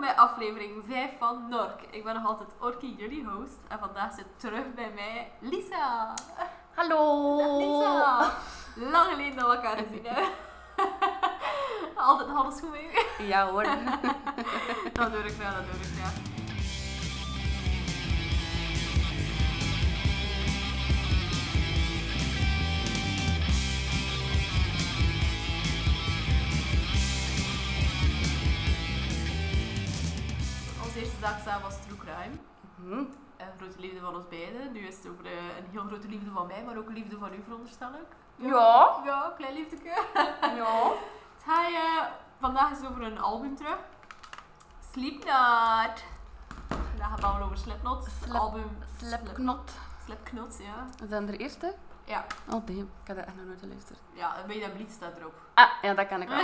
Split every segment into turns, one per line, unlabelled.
bij aflevering 5 van Nork. Ik ben nog altijd Orkie, jullie host. En vandaag zit terug bij mij Lisa.
Hallo!
Dag Lisa. Lang geleden dat we elkaar gezien hebben. altijd alles goed mee.
Ja hoor.
Dat doe ik wel, dat doe ik wel. Onze eerste dag samen was True Crime.
Hm,
Een grote liefde van ons beiden. Nu is het over eh, een heel grote liefde van mij, maar ook een liefde van u veronderstel ik.
Ja.
Ja, een klein liefdeke.
Ja.
Hij, eh, vandaag is het over een album terug. Slipknot. Vandaag gaan we over Slipknot. Het
Slip-
album Slip-
Slipknot.
Slipknot, ja.
Is dat de eerste?
Ja.
Oh damn, ik heb dat echt nog nooit geluisterd.
Ja, een beetje dat bleed staat erop.
Ah, ja dat kan ik wel.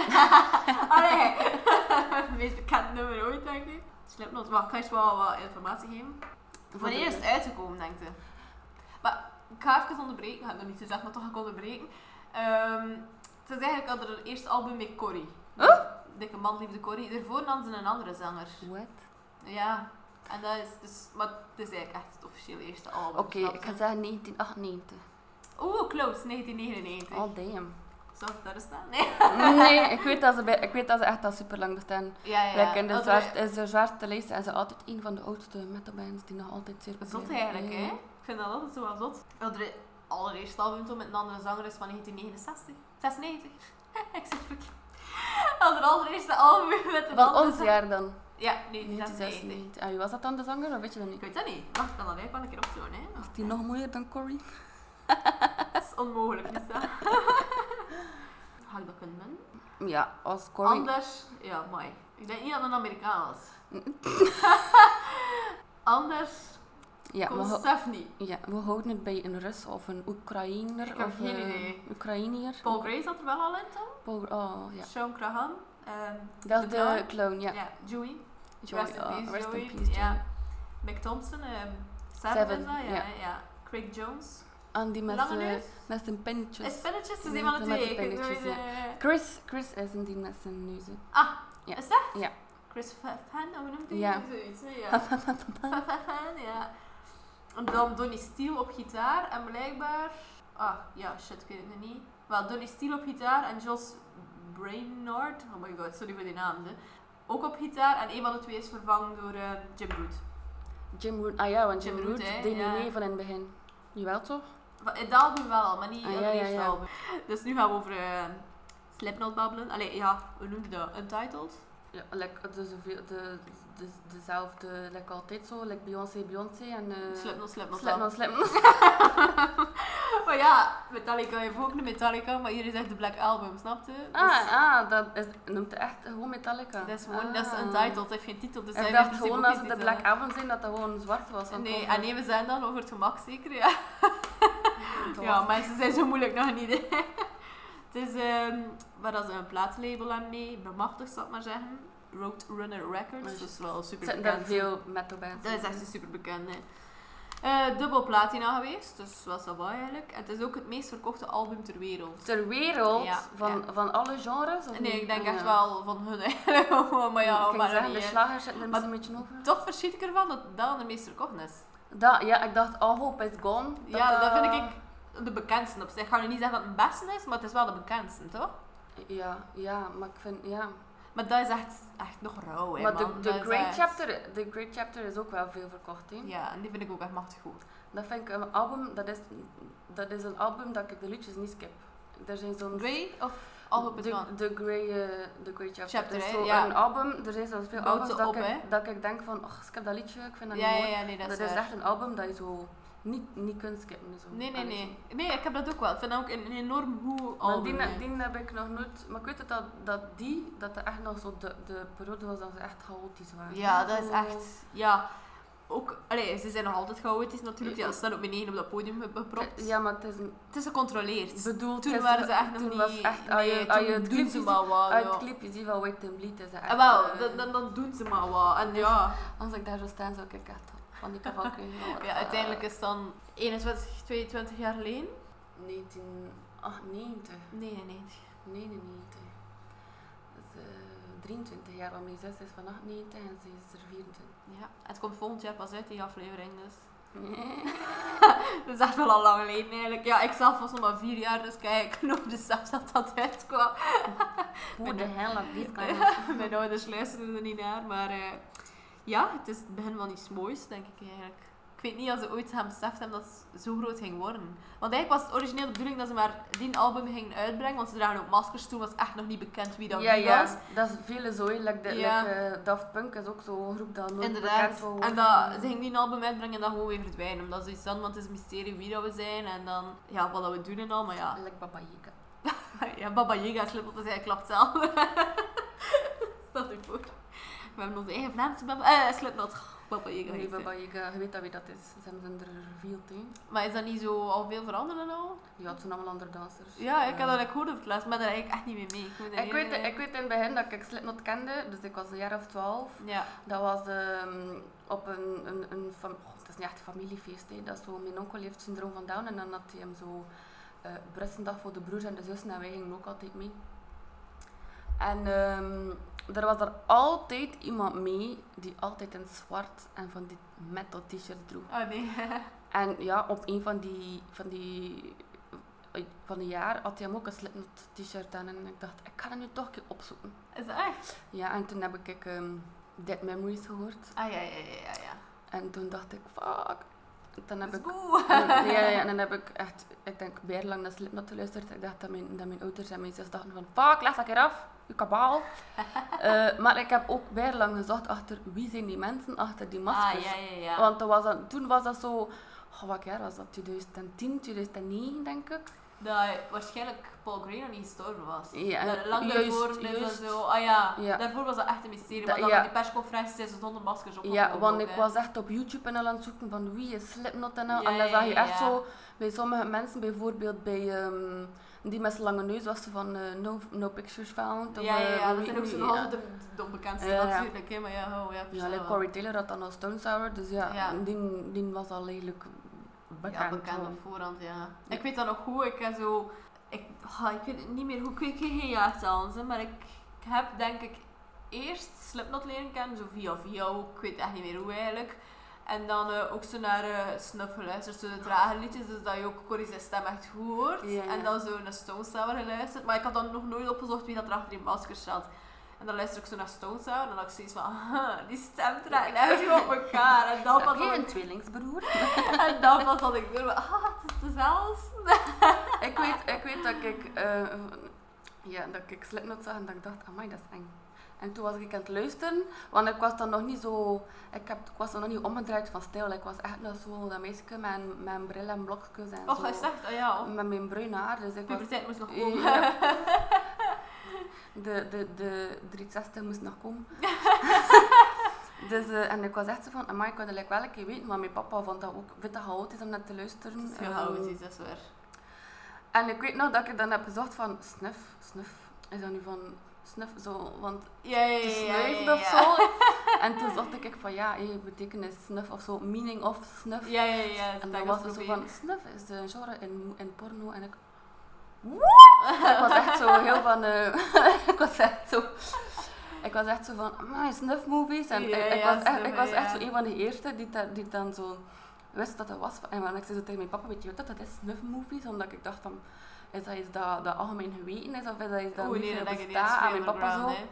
Allee! Het meest bekende nummer ooit, denk ik. Slipknot. Maar ik ga eerst wel wat informatie geven. Wanneer is het uitgekomen, denk je? Maar ik ga even onderbreken. Ik had nog niet gezegd, maar toch ga ik onderbreken. Ehm, het is eigenlijk al haar eerste album met Corrie.
Huh?
Dikke man liefde Corrie. Daarvoor nam ze een andere zanger.
What?
Ja, en dat is dus, maar het is eigenlijk echt het officiële eerste album.
Oké,
snap
ik
je?
ga zeggen 1998.
Oeh, close, 1999.
Oh damn.
Zal ik daar eens staan? Nee.
Nee, ik weet dat ze, bij, ik weet dat ze echt al super lang bestaan.
Ja, ja.
Like in de
dat
zwart, is de zwarte lijst en ze altijd een van de oudste metalbands die nog altijd zeer
Zot
zijn.
eigenlijk, hè?
Ja.
Ik vind dat altijd zo wel zot. Dat er allereerst album toen met een andere zanger is van 1969. 96. ik zeg verkeerd. Dat er allereerste album met een
Van
andere
ons
zanger-
jaar dan.
Ja, 1996.
1996. En wie was dat dan, de zanger? Of weet je dat
Ik
niet?
weet dat niet. Wacht, ik kan dat eigenlijk wel een keer opzoeken, hè.
Is die nog mooier dan Corrie?
Dat is onmogelijk, is dat? Ga ik dat kunnen doen?
Ja, als Corrie.
Anders, ja, mooi. Ik denk niet dat het een Amerikaan was. Anders
Ja,
kon
maar ho-
Stef niet.
Ja, we houden het bij een Rus of een Oekraïner.
Ik heb
of
geen
een
idee.
Oekraïner.
Paul Gray zat er wel al in, toch?
Paul- oh, ja.
Sean Crahan. ehm,
Dat
De
is
clown?
de clown, ja.
ja. Joey.
Joey,
Rest in
oh,
peace,
rest
Joey.
in peace,
Ja.
Joey.
Mick Thompson. ehm Seven,
Seven,
is dat? Ja,
ja.
hè, ja. Craig Jones.
En die met,
Lange
eh,
neus.
met zijn
Is
pintjes.
Spelletjes? Is
Ja,
een van de
met
twee?
de
Ik weet
pennetjes,
nooit, eh,
Chris, Chris is in die met zijn neus. hè.
Ah,
Ja.
is dat?
Ja.
Chris Fan, hoe noemt hij
Ja.
zoiets? hè? Ja. Fan, ja. En dan Donny Steele op gitaar en blijkbaar... Ah, ja, shit, ik weet het nog niet. Wel, Donny Steele op gitaar en Jos Brainard, oh my god, sorry voor die naam, hè. ook op gitaar en een van de twee is vervangen door eh, Jim Root.
Jim Root. Ah ja, want Jim,
Jim
Root
Root, hè,
deed
ja.
niet mee van in het begin. Jawel toch?
Va- Het album wel al, maar niet
Ah,
het
ja, ja,
eerste
ja.
album. Dus nu gaan we over eh, Slipknot babbelen. Allee, ja, we noemen dat Untitled.
Ja, like, de, zoveel- de, de, dezelfde, like altijd zo. Like Beyoncé, Beyoncé en... eh,
Slipknot, Slipknot.
Slipknot, Slipknot.
Maar ja, Metallica heeft ook een Metallica, maar hier is echt de Black Album, snap je? Dus-
Ah, ah, dat is, noemt het echt gewoon Metallica.
Dat is gewoon, dat is
Ah.
untitled, dat heeft geen titel. Dus
ik
hij
dacht
heeft in principe
gewoon
ook
als
geen
het de
titel,
Black Album zijn dat dat gewoon zwart was.
hè.
want
Nee,
over-
en nee, we zijn dan over het gemak zeker, ja.
dat
Ja,
was-
mensen zijn zo moeilijk nog niet, hè. Het is, ehm waar dat ze een plaatlabel aan mee, bemachtigd zal ik maar zeggen. Roadrunner Records,
Maar
dat is wel super
Zitten daar
bekend.
veel metalbands
Dat is
in?
echt een super bekende. Eh dubbel platina geweest, dus was dat wel eigenlijk. En het is ook het meest verkochte album ter wereld.
Ter wereld?
Ja,
van, van alle genres? Of
Nee,
niet?
ik denk
Ah,
echt
ja.
wel van hun eigenlijk. maar ja, oh,
Ik ging
maar
zeggen,
dan
de
niet. hè.
slagers zitten er
Maar-
misschien een beetje over.
Toch verschiet ik ervan dat dat de meest verkocht is.
Dat, ja, ik dacht, all hope is gone.
Ja, dat vind
eh,
ik de bekendste op zich. Ik ga nu niet zeggen dat het de beste is, maar het is wel de bekendste, toch?
Ja, ja, maar ik vind, ja.
Maar dat is echt, echt nog rauw, hè,
maar de,
man.
de,
Dat is
Great
echt-
chapter, de Great Chapter is ook wel veel verkocht, hè.
Ja, en die vind ik ook echt machtig goed.
Dat vind ik een album, dat is, dat is een album dat ik de liedjes niet skip. Er zijn zo'n
Grey of All Hope Is
de,
Gone?
de Grey, eh, de Grey Chapter.
Chapter,
is
hè?
zo
Ja.
een album. Er zijn zelfs veel
Bouwt
albums
ze
dat,
op, hè?
ik, dat ik denk van, och, ik heb dat liedje, ik vind dat
Ja,
niet
ja,
mooi.
ja, nee, dat,
dat
is
is
waar.
echt een album dat je zo niet, niet kunt skippen. Zo.
Nee, nee,
Allee,
nee.
zo.
Nee, ik heb dat ook wel. Ik vind dat ook een, een enorm goed
Maar
album.
die,
hè.
die heb ik nog nooit... Maar ik weet het dat, dat die, dat dat echt nog zo de, de periode was dat ze echt chaotisch waren.
Ja, dat is
Zo-
echt... Ja, ook... Allee, ze zijn nog altijd chaotisch natuurlijk. Ja,
Ja.
ze staan op beneden op dat podium ge- gepropt.
Ja, maar het is... een-
Het is gecontroleerd.
bedoel,
Toen
het is-
waren ze echt nog
toen
niet...
was echt, als je,
nee,
als
toen
je het
doen
clipje
ze
ziet-
maar wat,
uit
ja.
het clipje ziet van Wait and Bleed, is dat echt...
Ah, wel,
eh,
dan, dan, dan doen ze maar wat. En ja,
Als ik daar zou staan, zou ik echt van die kaval krijgen.
ja, uiteindelijk is het dan 21, 22 jaar geleden.
Eh, 1998.
99.
99. Dat is eh, 23 jaar, want mijn zus is van 98 en ze is er 24.
Ja, het komt volgend jaar pas uit, die aflevering, dus... dat is echt wel al lang geleden eigenlijk. Ja, ik zelf was nog maar vier jaar, dus kijk, ik nog dus zelf dat dat uitkwam.
Hoe de hel dat dit kan.
Mijn ouders luisterden er niet naar, maar eh, ja, het is het begin van iets moois, denk ik eigenlijk. Ik weet niet als ze ooit gaan beseft hebben dat het zo groot ging worden. Want eigenlijk was het origineel de bedoeling dat ze maar die album gingen uitbrengen, want ze dragen ook maskers toen, was echt nog niet bekend wie dat
Ja,
wie was.
ja, dat is vele zooi. Like de,
Ja.
like, eh, Daft Punk is ook zo'n groep dat nooit bekend
Inderdaad.
wil worden.
En dat, ze gingen die album uitbrengen en dan gewoon weer verdwijnen. Omdat zoiets dan, want het is een mysterie wie dat we zijn en dan ja, wat dat we doen en al. Maar ja,
Like Baba Yaga.
ja Baba Yaga is lippel te zijn, klapt zelf. Stel je voor. We hebben onze eigen Vlaamse Baba... Eh, Slipknot. Baba Yaga
Nee,
heet ze.
Baba Yaga, je weet dat wie dat is. Ze hebben ze er veel tegen.
Maar is dat niet zo al veel veranderd en al?
Ja, het zijn allemaal andere dansers.
Ja, ik had dat
Eh,
eigenlijk gehoord over het laatst, maar daar eigenlijk echt niet mee mee. Ik, moet
ik
eerlijk
weet,
zijn.
ik weet in het begin dat ik Slipknot kende, dus ik was een jaar of twaalf.
Ja.
Dat was ehm, op een, een, een fam- Goh, het is niet echt een familiefeest, hè. dat is zo, mijn onkel heeft syndroom van Down en dan had hij hem zo eh brussendag voor de broers en de zussen en wij gingen ook altijd mee. En ehm, er was er altijd iemand mee die altijd in zwart en van die metal t-shirt droeg.
Oh nee.
En ja, op een van die, van die, eh, van die jaar had hij hem ook een Slipknot t-shirt aan en ik dacht, ik ga dat nu toch een keer opzoeken.
Is dat echt?
Ja, en toen heb ik ehm Dead Memories gehoord.
Ah ja, ja, ja, ja. ja.
En toen dacht ik, fuck. Dan heb
Dat is Ah,
ik,
goed.
en, ja, ja, ja, en dan heb ik echt, ik denk, een jaar lang naar Slipknot geluisterd. Ik dacht dat mijn, dat mijn ouders en mijn zus dachten van, fuck, leg dat keer af, je kabaal. Eh, maar ik heb ook bijna lang gezocht achter, wie zijn die mensen achter die
Ah
maskers?
ja, ja, ja.
Want toen was dat, toen was dat zo, goh, wat jaar was dat, 2010, 2009 denk ik.
dat waarschijnlijk Paul Gray nog niet gestorven was.
Ja,
Dat lang
juist,
daarvoor is dat
juist.
zo. Ah ja,
Ja.
daarvoor was dat echt een mysterie.
Dat-
Want dan
ja.
op die persconferentie zijn ze zonder maskers op.
Ja, want ik was echt op YouTube en al aan het zoeken van wie is Slipknot en al.
Ja,
en dan
ja,
zag je
ja,
echt
ja.
zo bij sommige mensen, bijvoorbeeld bij ehm, die met zijn lange neus was ze van eh, no, no Pictures Found. of,
Ja, ja, ja,
eh,
dat
wie-
zijn ook
wie-
zo'n halve de, de onbekendste
Ja, ja.
natuurlijk. Hè, maar ja, oh, ja,
Ja,
verstaan
like
wel.
Corey Taylor had dan al Stone Sour, dus ja,
Ja.
Die, die was al eigenlijk bekend.
Ja, bekend
hoor.
op voorhand, ja. Ik weet dat nog goed. Ik heb zo... Ik, ah, ik weet het niet meer hoe... Ik weet geen jaartallen, hè, maar ik, ik heb denk ik eerst Slipknot leren kennen, zo via via ook. Ik weet echt niet meer hoe eigenlijk. En dan eh, ook zo naar eh Snuff geluisterd, zo de trage liedjes, dus dat je ook Corrie zijn stem echt goed hoort.
Ja, ja.
En dan zo naar Stone Sour geluisterd, maar ik had dan nog nooit opgezocht wie dat er achter die maskers zat. En dan luister ik zo naar Stone Sour en dan had ik zoiets van, ah, die stem draait echt op elkaar. En dan
Heb
pas
jij
had ik-
een tweelingsbroer?
en dan pas had ik door, maar, ah, het is dezelfde.
ik, weet, ik weet dat ik, eh, ja, dat ik Slipknot zag en dat ik dacht, amai, dat is eng. En toen was ik aan het luisteren, want ik was dan nog niet zo... Ik, heb, ik was dan nog niet omgedraaid van stijl. Ik was echt nog zo dat meisje met, met een bril en blokjes en
Och,
zo.
hij zegt, ah ja, oh,
Met mijn bruin haar, dus ik was...
puberteit moest nog komen.
Ja. De, de, de 360 moest nog komen. dus, eh, en ik was echt zo van, amai, ik wilde like wel een keer weten, maar mijn papa vond dat ook witte chaotisch om net te luisteren.
Het is heel
Ehm,
chaotisch, dat is waar.
En ik weet nog dat ik dan heb gezocht van snuf, snuf. Is dat nu van snuf zo, want
Ja, ja,
te
ja, ja,
snuiven
ja,
of
ja.
zo? En toen dacht ik echt van ja, hey, betekenis snuf of zo, meaning of snuf.
Ja, ja, ja.
en
dat
dan
ik
was
dat
het zo
probeer.
van snuf is een genre in, in porno en ik... What? ik was echt zo heel van... eh, ik was echt zo... Ik was echt zo van, my snuff movies. En
Ja,
ik, ik
ja,
was echt, ik
snuffen,
was echt
ja.
zo een van de eerste die, dat- die dan zo wist dat dat was. En want ik zei zo tegen mijn papa, weet je wat dat, dat is, snuffmovies? Omdat ik dacht van, is dat iets dat, dat algemeen geweten is? Of is dat iets dat
Oeh,
niet
nee,
veel
dat denk ik niet.
bestaat?
dat
En
is
mijn papa zo,
underground, hè.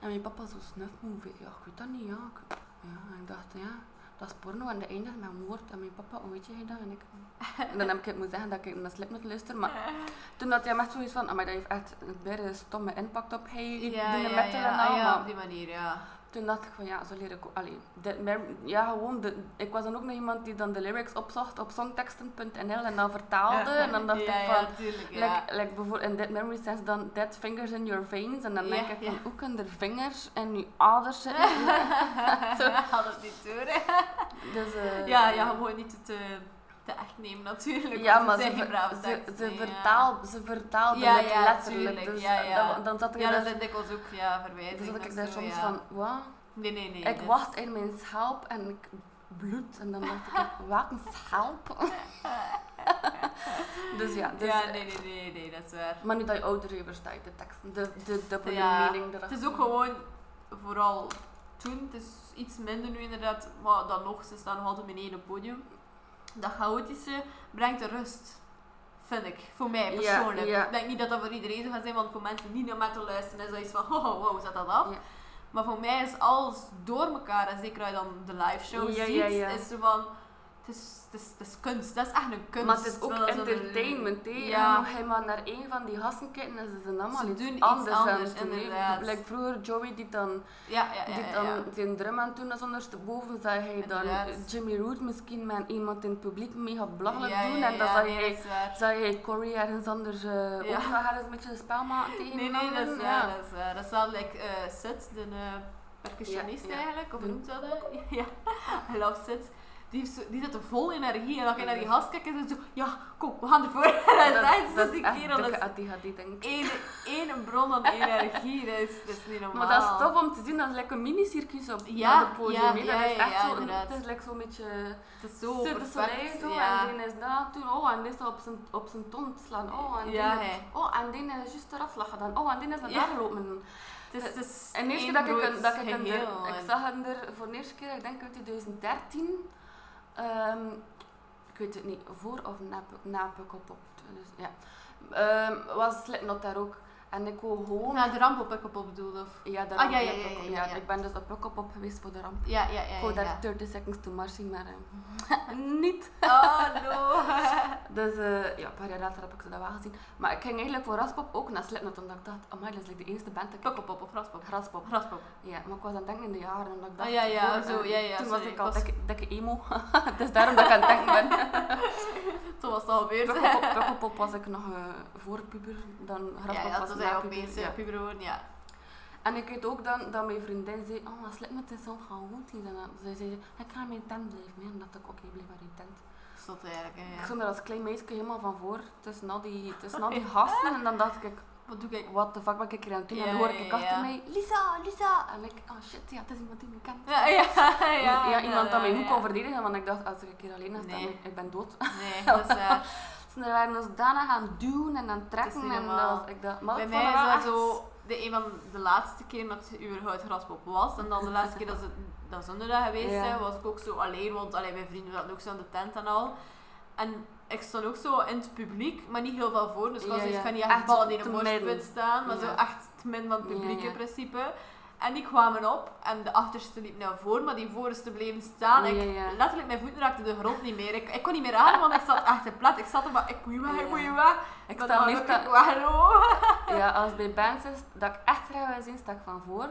en mijn papa zo, snuffmovie? Ja, ik weet dat niet, ja. Ik, ja, en ik dacht, ja, dat is porno en dat eindigt met een woord. En mijn papa, hoe weet je dat? En ik... En dan heb ik het moeten zeggen dat ik naar Slipknot luister, maar toen had hij hem echt zoiets van, maar dat heeft echt een bijna stomme impact op hij, die
Ja,
die
ja,
metal
ja,
en al,
ah, ja,
maar-
op die manier, ja.
toen dacht ik van ja, zo leer ik ook. Allee, de, mer- ja, gewoon. De, ik was dan ook nog iemand die dan de lyrics opzocht op songteksten.nl en dan vertaalde. En dan dacht
ja,
ik van.
Ja, tuurlijk, ja.
Like, like bijvoorbeeld in Dead Memory Sense dan Dead Fingers in Your Veins. En dan denk
Ja,
ik van,
ja.
hoe kunnen er vingers in je aders zitten? Zo.
Had het niet door, hè.
dus, eh,
Ja, ja, gewoon niet te, te echt nemen natuurlijk.
Ja,
want
maar
het
ze,
zijn geen brave
ver- ze,
teksten,
ze,
ja.
vertaal, ze vertaalde
Ja,
het
ja,
letterlijk.
tuurlijk,
dus
ja, ja.
Dan, dan zat ik
Ja,
daar,
dat zijn dikwijls ook ja, verwijzingen.
dus zat ik
of
daar
zo,
soms
ja.
van, wat?
Nee, nee, nee.
Ik
dus-
wacht in mijn schelp en ik bloed. En dan dacht ik, wat een schelp? dus ja, dus, eh,
ja, nee, nee, nee, nee, dat is waar.
maar nu dat je ouder je verstaat, de tekst, de, de dubbele
Ja,
mening erachter.
Het is ook gewoon vooral toen. Het is iets minder nu inderdaad, maar dan nog, ze staan nog altijd beneden op het podium. Dat chaotische brengt de rust, vind ik. Voor mij
Ja,
persoonlijk.
ja.
Ik denk niet dat dat voor iedereen zo gaat zijn, want voor mensen die naar metal luisteren is dat iets van, oh, wow, zet dat af.
Ja.
Maar voor mij is alles door elkaar, en zeker als je dan de live show
Ja,
ziet,
ja, ja.
is zo van, het is, het, is, het is kunst, dat is echt een kunst.
Maar het is ook
Terwijl dat zo'n- eh,
entertainment, hè.
Ja.
Ja. Mag je maar naar één van die gasten kijken en ze zijn allemaal
Ze
iets
doen iets
anders, aan
anders,
het doen, hè.
inderdaad.
Like vroeger Joey die dan,
Ja, ja, ja.
die
ja,
dan
ja.
zijn drum aan het doen als ondersteboven, zag je dan
Inderdaad.
Jimmy Root misschien met iemand in het publiek mega belachelijk
Ja, ja,
doen en
ja,
dan zag
nee,
je...
dat is waar.
Zou je Corey ergens anders eh
Ja.
ook nog ergens een beetje een spel maken tegen
Nee, nee,
iemand
dat is
anders?
waar. Dat is, waar. dat is wel like eh, Sid, de eh, percussionist
Ja, ja.
eigenlijk, of hoe
Doe.
noemt dat? eh? ja, I love Sid. Die, heeft zo- die zit er vol energie en dan kan je naar die gast kijken en zo, ja, kom, we gaan ervoor. En hij zei, dat is die
echt
kerel, dat
dikke
is
Adi Hadi, denk ik.
één, één bron aan energie, dat is, dat is niet normaal.
Maar dat is tof om te zien, dat is lekker een mini-circus op
Ja,
op het podium.
ja, ja,
hè. dat is echt
ja,
zo, een-
inderdaad.
het is lekker zo'n beetje
Het is zo
Cirque du Soleil
perfect.
zo,
ja.
en die is dat toen, oh, en die is dat op zijn, op zijn tong te slaan, oh, en
Ja,
die,
hè.
oh, en die is juist eraf lachen dan, oh, en die is naar
Ja.
daar lopen.
Het is, het is
En de eerste
één
keer dat ik,
groot
een- dat ik, een-
geheel
ik
en-
zag hem er voor de eerste keer, ik denk uit 2013. ehm, ik weet het niet, voor of na, Puk- na Pukkelpop. Dus, ja. Ehm, was Slipknot daar ook. En ik wou gewoon...
Nou, de ramp op ik op bedoel, of...
Ja, daar
Ah,
ook
ja,
na
ja, ja,
Pukkelpop.
ja, ja, ja.
Ik ben dus op Pukkelpop geweest voor de ramp.
Ja, ja, ja.
Ik
ja,
wou daar
ja.
30 Seconds to Mars zien, maar eh, niet.
Oh, no.
Dus eh, ja, een paar jaar later heb ik ze dat wel gezien. Maar ik ging eigenlijk voor Raspop ook naar Slipknot, omdat ik dacht, amai, dat is like de enige band dat ik...
Pukkelpop of raspop?
Raspop.
Raspop.
Ja, maar ik was aan het denken in de jaren, omdat ik dacht...
Ah, ja, ja,
voor,
zo,
eh,
ja, ja,
Toen
sorry,
was ik al
ik was-
dikke, dikke emo. Het is daarom dat ik aan het denken ben.
Toen was het al gebeurd.
Pukkelpop, Pukkelpop was ik nog eh, voor puber, dan
Ja,
Raspop
ja,
was
toen
na
zijn we
puber,
opeens
ja.
ja. puber geworden, ja.
En ik weet ook dan, dat mijn vriendin zei, oh, maar Slipknot is zo goed. hier." En dan zei ze, ik ga in mijn tent blijven. hè." En dat ik, oké, blijf maar in je tent.
Zot eigenlijk, hè,
Ik
ja.
stond er als klein meisje helemaal van voor, tussen al die, tussen al die gasten. En dan dacht ik,
Wat doe ik?
what the fuck, wat ik hier aan het doen? En
Ja,
dan hoor
ja,
ik
ja,
achter
ja.
mij, Lisa, Lisa. En ik, oh shit, ja, het is iemand die me kent.
Ja, ja, ja.
ja, iemand dat mij
ja,
goed
ja.
kon verdedigen, want ik dacht, als ik hier alleen ga staan,
Nee.
ik- ik ben dood.
Nee, dat is eh, waar.
Dus er waren ons daarna gaan duwen en aan
Het is
trekken
niet
en
normaal.
dat, ik dacht, maar
Bij
ik vond
mij
dat wel
is dat
echt-
zo de, een van de laatste keer dat überhaupt raspop was. En dan de laatste keer dat ze dat zonder dat geweest
Ja.
zijn, was ik ook zo alleen. Want allee, mijn vrienden zaten ook zo aan de tent en al. En ik stond ook zo in het publiek, maar niet heel veel voor. Dus ik was
Ja,
zoiets
ja.
van niet
Echt
echt ballen die in
te
een
midden.
borstpunt staan, maar
Ja.
zo echt het min van het publiek
Ja, ja.
in principe. En die kwamen op en de achterste liep naar voren, maar die voorste bleven staan.
Ja,
Ik,
ja.
letterlijk, mijn voeten raakten de grond niet meer. Ik, ik kon niet meer aan, want ik zat echt te plat. Ik zat er maar, ik moet je weg, ik moet je weg.
Ik
Maar
sta
dan
meestal,
ook ik, Waarom?
ja, als het bij bands is, dat ik echt graag wil zien, sta ik van voor.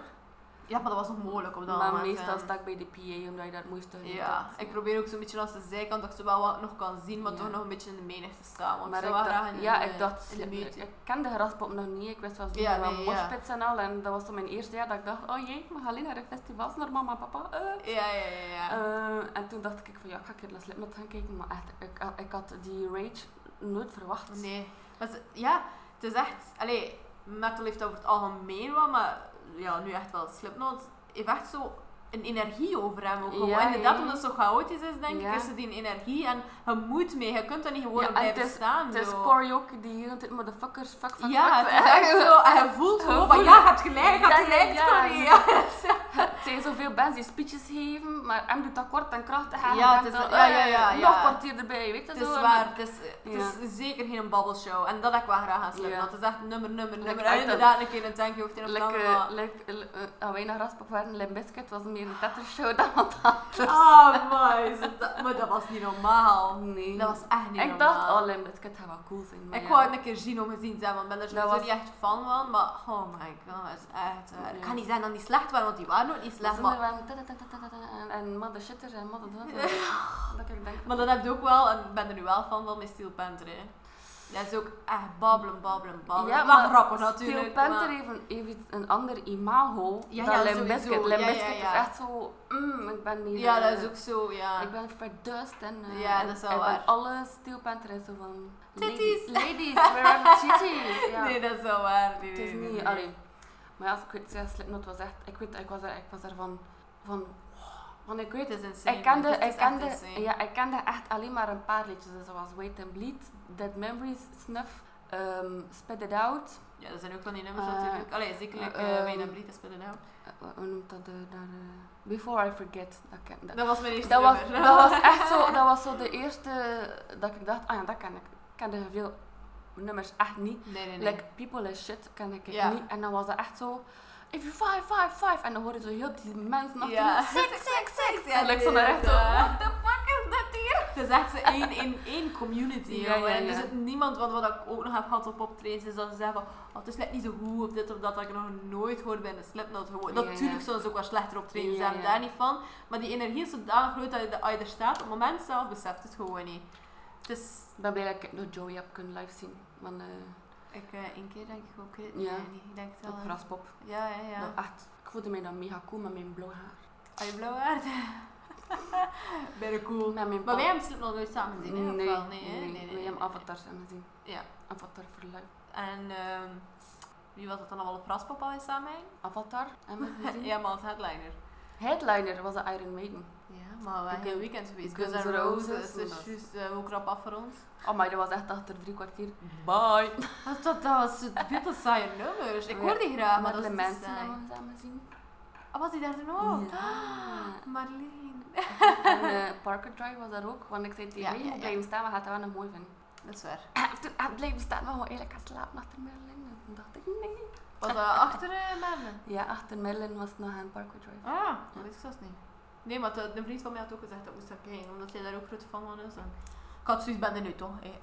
Ja, maar dat was nog moeilijk op dat
maar
moment.
meestal
hè.
sta ik bij de PA, omdat je dat het moeiste doet.
Ja, ik probeer ook zo'n beetje als de zijkant, dat ik ze wel wat nog kan zien, maar
Ja.
toch nog een beetje in de menigte staan. Want
Maar
Oh, ik
ik
zou wel
dacht,
graag in
ja,
de,
ik dacht,
in de
ik,
buurt.
ik kende graspop nog niet, ik wist wel
Ja,
ja,
nee,
nee,
ja.
en al. En dat was zo mijn eerste jaar dat ik dacht, oh jee, we gaan alleen naar een festival, naar mama en papa. eh.
Ja, ja, ja. ja.
Eh, en toen dacht ik van, ja, ik ga een keer naar Slipknot gaan kijken, maar echt, ik, had- ik had die rage nooit verwacht.
Nee. Maar ze- ja, het is echt... Allee, metal heeft over het algemeen wat, maar ja, nu echt wel Slipknot. Heeft echt zo een energie over hem ook. Gewoon.
Ja,
Inderdaad,
ja.
omdat het zo chaotisch is, denk
Ja.
ik, is er die energie. En je moet mee, je kunt daar niet gewoon
Ja,
op
en het
blijven
is-
staan.
Het is
zo.
Cory ook die hier altijd motherfuckers, fuck, fuck,
Ja,
fuck.
het is echt zo. En je voelt
Je
gewoon van,
voelt
ja, je
het.
hebt gelijk, je hebt
Ja, ja,
gelijk,
ja.
Corrie. Ja,
Het zijn zoveel bands die speeches geven, maar hem doet dat kort en krachtig. en
Ja,
hem
het
denkt
is-
dan,
ja,
eh,
ja, ja,
Nog
ja.
kwartier erbij, weet je
Het
zo.
is
en-
waar, het is, het
Ja.
is zeker geen babbelshow. En dat heb ik wel graag aan Slipknot.
Ja.
Het is echt nummer, nummer, nummer.
echt
En inderdaad, een keer een tankje hoeft in een
Like,
vlam, maar-
eh, like, eh, eh,
ah,
aan weinig raspop waren, Limp Bizkit was meer een tettershow dan wat anders.
Ah, mooi. is het dat- Maar dat was niet normaal.
nee.
Dat was echt niet
ik dacht,
normaal.
oh, Limp Bizkit gaat wel cool zijn. maar
ik
ja.
wou het een keer zien om gezien te zijn, want ik ben er sowieso
was-
niet echt fan van. Maar oh my god, dat is echt waar.
Ja.
Ik kan niet zeggen dat die slecht waren, want die waren ook niet
Dat
slecht.
ze
Maar,
waren tatatatata en- En mother shitter en mother dat. en- Dat ik denk,
maar dat heb je ook wel, en ik ben er nu wel fan van, met Steel Panther. hè. Dat is ook echt babbelen, babbelen, babbelen. Ja, maar rapper oh, natuurlijk.
Steel Panther
maar-
heeft, een, heeft een ander imago
Ja,
dan
ja,
Limp
sowieso.
Bizkit. Limp
Ja, ja,
Bizkit
ja.
is echt zo, mm, ik ben niet...
Ja,
eh,
dat is ook zo, ja.
Ik ben verdust en... eh,
Ja, dat is wel
ik ben
waar.
alle Steel Panther is zo van...
Titties.
Ladies, ladies, where are the titties? Ja.
Nee, dat is wel waar. Nee,
het
nee,
is
nee,
niet...
nee.
Allee. Maar ja, ik weet, ja, Slipknot was echt... Ik weet, ik was er, ik was er van... Van... Want ik weet,
Het is insane.
ik
man.
kende,
Het is
ik,
echt
kende,
insane.
ja, ik kende echt alleen maar een paar liedjes, dus zoals Wait and Bleed, Dead Memories, Snuff, eh, Ehm, Spit It Out.
Ja, er zijn ook van die nummers
Eh,
natuurlijk. Allee, zekerlijk
eh,
eh
ehm,
Wayne en Brita spelen nou.
Eh, hoe- hoe noemt dat? eh, daar, eh, Before I Forget. Dat, ken, dat,
Dat was mijn eerste
dat, was,
nummer.
dat was echt zo, dat was zo de eerste dat ik dacht, ah ja, dat ken ik. Ik kende veel nummers echt niet.
Nee, nee, nee.
Like People is Shit kende ik
Ja.
niet. En dan was dat echt zo, if you five, five, five. En dan hoorden ze heel die mensen achter
Ja.
me, six, six, six.
Ja,
en ik vond dat echt zo,
inderdaad.
what the fuck is dat hier?
Het is echt zo één in één community.
Ja,
jongen.
ja,
En er
ja.
zit niemand, want wat ik ook nog heb gehad op optredens, is dat ze zeggen van, oh, het is net niet zo goed of dit of dat, dat ik nog nooit hoorde bij de Slipknot. Gewoon.
Ja, ja.
Natuurlijk zullen ze ook wel slechter optredens
Ja,
zijn,
ja.
daar niet van. Maar die energie is zodanig groot dat je de- als je er staat, op het moment zelf beseft het gewoon niet. Het is...
Ik ben blij dat ik nog Joey heb kunnen live zien. Want eh
Ik, één keer denk ik ook,
Ja.
nee, niet. ik denk het wel.
op
hè.
Graspop.
Ja, ja, ja.
Dat echt, ik voelde mij dan mega cool met mijn blauw haar.
Are you blauw haard? Very cool.
Met mijn
Maar wij
pa-
hebben Slipknot nooit samen gezien, hè? Of
Nee,
wel? nee, hè? nee, nee,
wij
nee.
hebben avatars samen gezien.
Ja.
Avatar voor live.
En ehm, wie was dat dan allemaal op Raspop al samen?
Avatar hebben we gezien.
Ja, maar als headliner.
Headliner was de Iron Maiden.
Ja, maar we hebben
Guns-
een weekend geweest.
Guns
Guns N'
N'
Roses,
Roses,
dat is
dat.
juist eh, hoe krap af voor ons.
Oh, maar dat was echt achter drie kwartier. Bye.
Dat, dat, dat was het witte saaie nummers. Ik
Ja,
hoor die graag, maar dat is te
mensen
saai.
hebben we samen gezien.
Ah, was die daar toen ook? Ah,
Ja.
Marleen.
En eh, Parker Drive was daar ook. Want ik zei tegen
Ja,
mij,
ja,
"Hoe
ja.
blijven staan, we gaan het wel nog mooi vinden.
Dat is waar.
En Toen hij bleef staan, maar gewoon eigenlijk gaan slapen achter Merlin. En toen dacht ik, nee.
Was dat achter eh Merlin?
Ja, achter Merlin was het nog aan Parker Drive.
Ah, dat weet ik zelfs niet. Nee, maar de, de vriend van mij had ook gezegd dat moest ik heen, omdat jij daar ook groot fan van is. En ik had zoiets, ben er nu toch. hè.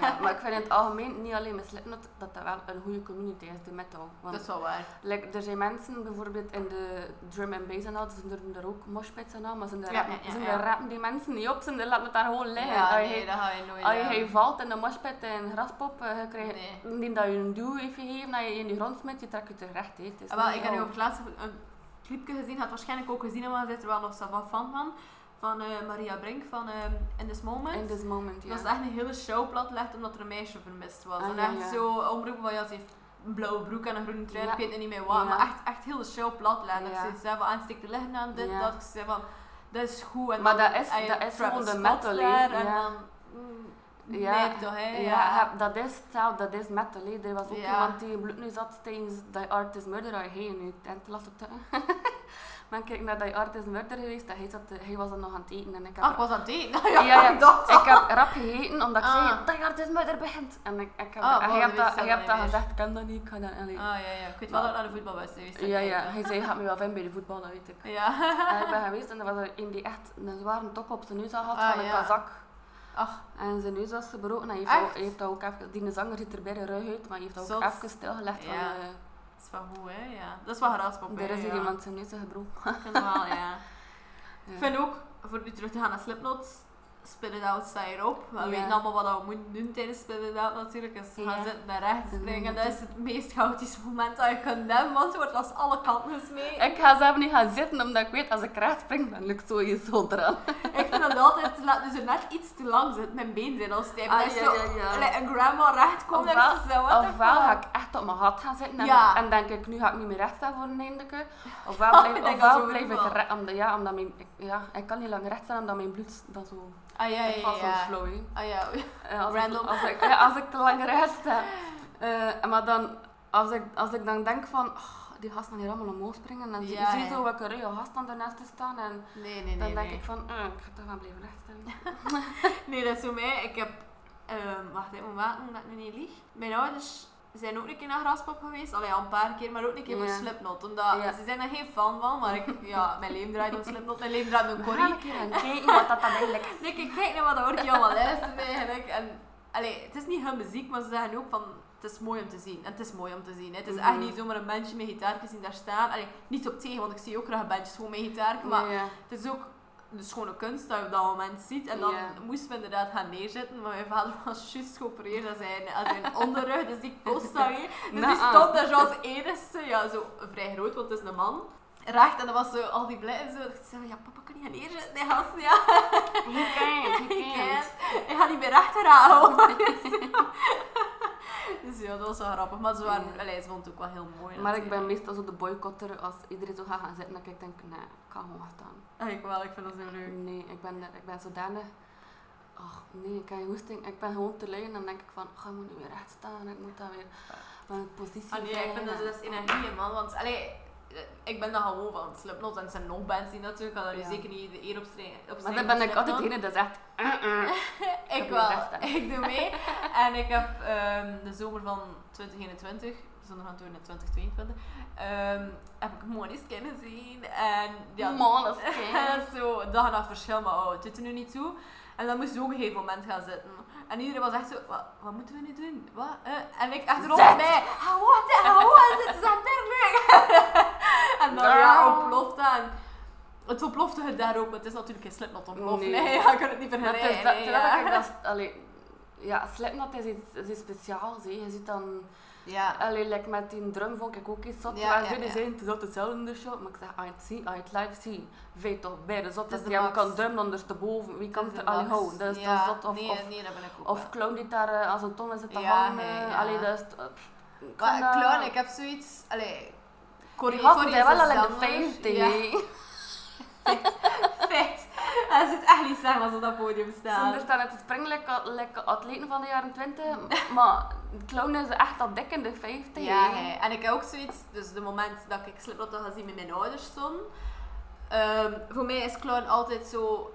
Ja, maar ik vind in het algemeen, niet alleen met Slipknot, dat dat wel een goede community is, de metal. Want
Dat is wel waar.
like, er zijn mensen, bijvoorbeeld in de drum en bass en al, ze doen daar ook moshpits en al, maar ze doen daar
Ja,
rapen-
ja,
ze
ja.
doen daar rapen die mensen niet op, ze doen- laten het daar gewoon liggen.
Ja,
als oh, je,
nee, dat ga je nooit
als je
doen.
hij valt in de moshpit en graspop, eh, je krijgt
Nee.
indien dat je een duw heeft gegeven, dat je in de grond smijt, je trekt je terecht. hè. Het is
Ah, wel,
niet
ik heb nu
zo-
over het laatst een clipje gezien, had waarschijnlijk ook gezien, maar zit er wel nog zo wat fan van. Van eh, Maria Brink van ehm, In This Moment.
In this moment, ja.
Dat is echt een hele show platgelegd omdat er een meisje vermist was.
Ah,
en
ja,
echt
ja.
zo omroepen van ja, ze heeft een blauwe broek en een groene trui,
Ja.
ik weet nog niet meer wat.
Ja.
Maar echt, echt heel de show platleggen. Dat
Ja.
ze zei van aansteek de lichten aan dit,
Ja.
dat. Ik zei van, dat is goed. En
Maar
dan,
dat is-
en Ah, je
dat is
Travis
gewoon de
Scott
metal, hè.
daar, En
Ja.
dan... mm,
Ja.
Nee, toch, hè?
Ja, heb- dat is hetzelfde, dat is metal. hè. Er was ook
Ja.
iemand die bloed nu zat tijdens Die Artist Murder. Hij in je tent last op de... maar kijk naar Die Artist Murder geweest, dat hij, zat, te- hij was dan nog aan het eten. En ik heb,
Ah, ik was aan het eten.
ja, ja,
dat.
ik heb rap gegeten omdat ik
Ah.
zei, Die Artist Murder begint. En ik, ik heb,
Ah, wow,
hij
dat
heeft dat,
wist ik
hij
wel
heeft dat
niet
gezegd, ik kan dat niet, ik kan dat allee.
Ah, ja, ja. Ik weet wel dat ik naar de voetbal was geweest. dat
Ja,
ik
ja,
weet
hij zei, gaat me wel vinden bij de voetbal, dat weet ik.
dat. Ja.
En Eh, ik ben geweest en er was er een die echt een zware tok op zijn neus had,
Ah,
van een
ja.
kazak.
Ach,
En zijn neus was gebroken en hij heeft,
Echt?
ook- hij heeft dat ook even... Die zanger ziet er bij de ruig uit, maar hij heeft dat ook
Zot.
even stilgelegd van...
Ja.
eh,
dat is wel goed, hè? Ja. Dat is wel graspop, hè,
er is hier
ja.
iemand zijn neus gebroken.
Ik vind het wel, ja.
Ja.
Ik vind ook, voor nu terug te gaan naar Slipknot, Spin It Out sta je erop. Maar We
Ja.
weten allemaal wat we moeten doen tijdens Spin It Out natuurlijk. Dus we gaan
Ja.
zitten naar rechts
Mhm.
springen. Dat is het meest chaotische moment dat je kunt hebben, want je wordt als alle kanten mee.
Ik ga zelf niet gaan zitten, omdat ik weet, als ik recht spring, dan lukt sowieso eraan.
Ik vind dat altijd, laat dus er net iets te lang zit, mijn been zijn al stijf.
Ah,
Dat is
ja,
zo,
ja, ja.
like een grandma recht komt en
Ofwel-
ze zo, what the
Ofwel
fuck?
ga ik echt op mijn gat gaan zitten en,
Ja.
en denk ik, nu ga ik niet meer recht staan voor een eindeke. Ofwel blijf,
Ik denk dat
ofwel
zo
blijf
wel.
ik recht, omdat, ja, omdat mijn, ik, ja, ik kan niet lang recht staan omdat mijn bloed dan zo...
Ah ja, ja,
Ik val
ja.
zo'n flow, hè.
Ah ja,
Eh, als
Random.
Ik, als, ik, ja, als ik te lang eruit sta. Eh, maar dan, als ik, als ik dan denk van, oh, die gasten gaan hier allemaal omhoog springen. En zie
Ja,
zie je
ja.
zo welke ruige gasten daarnaast te staan. En
nee, nee, nee.
dan denk
nee.
ik van, eh, ik ga toch wel blijven rechtstaan.
Nee, dat is voor mij. Ik heb. ehm, wacht even, hoe maken dat ik nu niet lieg? Mijn ouders zijn ook een keer naar Graspop geweest. Allee, al een paar keer, maar ook een keer voor
Ja.
Slipknot. Omdat
Ja.
ze zijn daar geen fan van, maar ik, ja, mijn leven draait om Slipknot, mijn leven draait om
We gaan
Corrie.
een keer gaan kijken wat dat dan eigenlijk is.
Dus ik kijk naar wat dat hoor ik je allemaal luisteren eigenlijk. En, allee, het is niet hun muziek, maar ze zeggen ook van. Het is mooi om te zien. En het is mooi om te zien. hè. Het is echt
Mhm.
niet zomaar een bandje met gitaartjes die daar staan. Allee, niet op tegen, want ik zie ook graag bandjes gewoon met gitaar. Maar
Ja.
het is ook de schone kunst dat je op dat moment ziet. En dan
Ja.
moesten we inderdaad gaan neerzetten. Maar mijn vader was juist geopereerd aan zijn, aan zijn onderrug. Dus die kost dat niet. Dus die
Nou,
stond daar zo als enigste. Ja, zo vrij groot, want het is een man. Recht. En dan was zo al die blij. En zo. Ik zei, ja, papa kan niet gaan neerzetten. Die gast, ja.
You can't,
Ik
you can't.
Ik ga niet meer rechter houden. dus ja, dat was wel grappig. Maar ze, waren,
Ja.
allee, ze vond het ook wel heel mooi.
Maar ik ben
natuurlijk.
meestal zo de boycotter als iedereen zo gaat gaan zitten. Dan ik denk, nee, ik ga gewoon gaan staan.
Ah, Ik wel, ik vind dat zo leuk.
Nee, ik ben, ik ben zodanig ach nee, ik heb hoesting. Ik ben gewoon te lui en dan denk ik van, ach, ik moet nu weer recht staan. Ik moet dan weer mijn positie
Ah, nee, ik vind dat,
vinden.
dat is energie, man. Want allee, eh, ik ben dat gewoon van Slipknot en het zijn nog bands die natuurlijk, al daar
Ja.
zeker niet de eer op strijden.
Maar dan ben ik altijd de ene dat zegt, eh, eh.
Ik
doe mijn
wel.
best, hè.
Ik doe mee. en ik heb ehm, de zomer van 2021, we zijn nog aan het doen in 2022, ehm, heb ik Måneskin gezien. En ja,
Måneskin.
dat is zo dag en nacht verschil, maar oh, het doet er nu niet toe. En dan moest je ook op een gegeven moment gaan zitten. En iedereen was echt zo, wat, wat moeten we nu doen? Wat? eh?" en ik achterop
Zet!
mij, ah, wat, eh, ah, wat, het is dergelijk. en dan ja,
Girl.
ontploft dat. En het ontplofte het daar ook, maar het is natuurlijk geen slipnot ontploft. Nee,
Nee.
ja, ik kan het niet
Maar het
vergelijken.
is dat,
nee,
terwijl
ja.
ik dat... Allee, ja, Slipknot is iets, is iets speciaals. Hè. Je ziet dan...
Ja.
Allee, like met die drum vond ik ook iets zot.
Ja,
Ja, maar
ja,
jullie
ja.
zijn te zot hetzelfde in de show. Maar ik zeg, als je het ziet, als je het live ziet, weet toch bij de zot
Het is
dat
de
die hem
max.
kan drum ondersteboven. Wie kan
Dat is
het er
de
aan
max.
houden? Dat is
Ja,
toch zot. Of,
nee,
of,
nee, dat ben ik ook
of
wel.
clown die daar eh, als een tong in zit te
Ja,
hangen.
nee, ja.
Allee, dat is... t- eh, pff, ik
Maar
vind dat-
clown, ik heb zoiets... Allee... Corrie,
Die gasten
Corrie
zijn
is
wel al
een
in de
zanger.
50.
Ja, feit. Hij zit echt niet samen als op dat podium
Ze
staat.
staan uit te springen lekker lekker atleten van de jaren 20. Maar clown is echt al dik in de 50.
Ja,
hè.
hè. en ik heb ook zoiets... Dus de moment dat ik Slipknot had gezien met mijn ouders stonden... ehm, voor mij is clown altijd zo...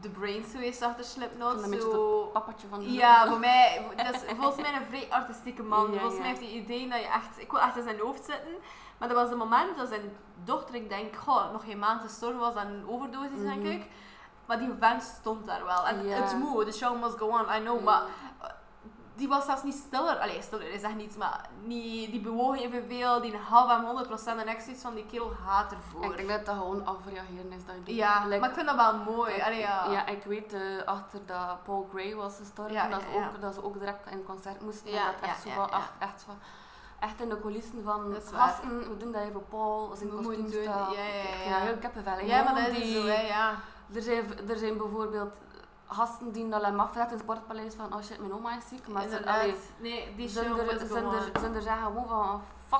De brains geweest achter
Ik
Slipknot.
vind dat een beetje
Zo...
het Pappertje van de
Ja, voor mij, dat is volgens mij een vrij artistieke man.
Ja,
volgens
ja.
mij heeft hij het idee dat je echt, ik wil echt in zijn hoofd zitten. Maar dat was het moment dat zijn dochter, ik denk, goh, nog geen maand gestorven was aan een overdosis, denk
Mhm.
ik. Maar die vent stond daar wel. En
Ja.
het moe, the show must go on, I know. Maar die was zelfs niet stiller. Allee, stiller is echt niets, maar niet, die bewoog evenveel, die half aan 100% en echt zoiets van die kerel haat
Ik
ervoor.
denk dat dat gewoon afreageren is dat je doet.
Ja,
Like,
maar ik vind dat wel mooi.
ik-
Allee, ja.
ja, ik weet eh, achter dat Paul Gray was gestorven,
Ja,
dat, ze
ja, ja.
Ook, dat ze ook direct in een concert moesten.
Ja,
en dat echt,
ja,
zo
ja,
van-
ja.
Echt, echt, van- echt in de coulissen van
Dat is waar.
gasten, we doen dat even voor Paul, zijn
We
kostuum
moeten doen-
staat.
ja, ja,
Ik vind
ja.
dat heel kippenvel. hè.
ja, maar
Gewoon
dat is
die-
zo, hè, ja.
er, zijn, er zijn bijvoorbeeld gasten die dat hem afvragen in het sportpaleis van oh shit, mijn oma is ziek. Maar ze,
Inderdaad.
allee,
nee, die
zijn
show
er,
was
zijn, er, zijn er zeggen gewoon van "Oh,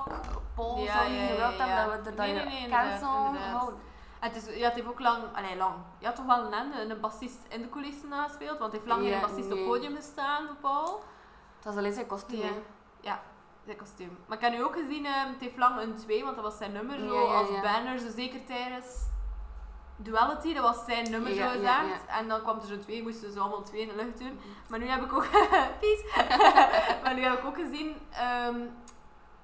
fuck Paul,
Ja,
zou
ja,
niet
ja,
gewild
ja.
hebben dat we er dan
Nee, nee, nee, inderdaad,
cancel
inderdaad.
houden.
Het, is, ja, het heeft ook lang, allee, lang. Je had toch wel een ende, een bassist in de coulissen nagespeeld, want hij heeft lang geen
Ja,
bassist op
nee.
het podium gestaan voor Paul.
Het was alleen zijn kostuum.
Ja.
hè.
Ja, zijn kostuum. Maar ik heb nu ook gezien, ehm, het heeft lang een 2, want dat was zijn nummer, zo,
Ja, ja,
als
ja.
banner, zo zeker tijdens Duality, dat was zijn nummer,
Ja,
zo gezegd.
ja,
En dan kwam er zo'n twee, moesten ze allemaal twee in de lucht doen. Maar nu heb ik ook... Peace! maar nu heb ik ook gezien, ehm,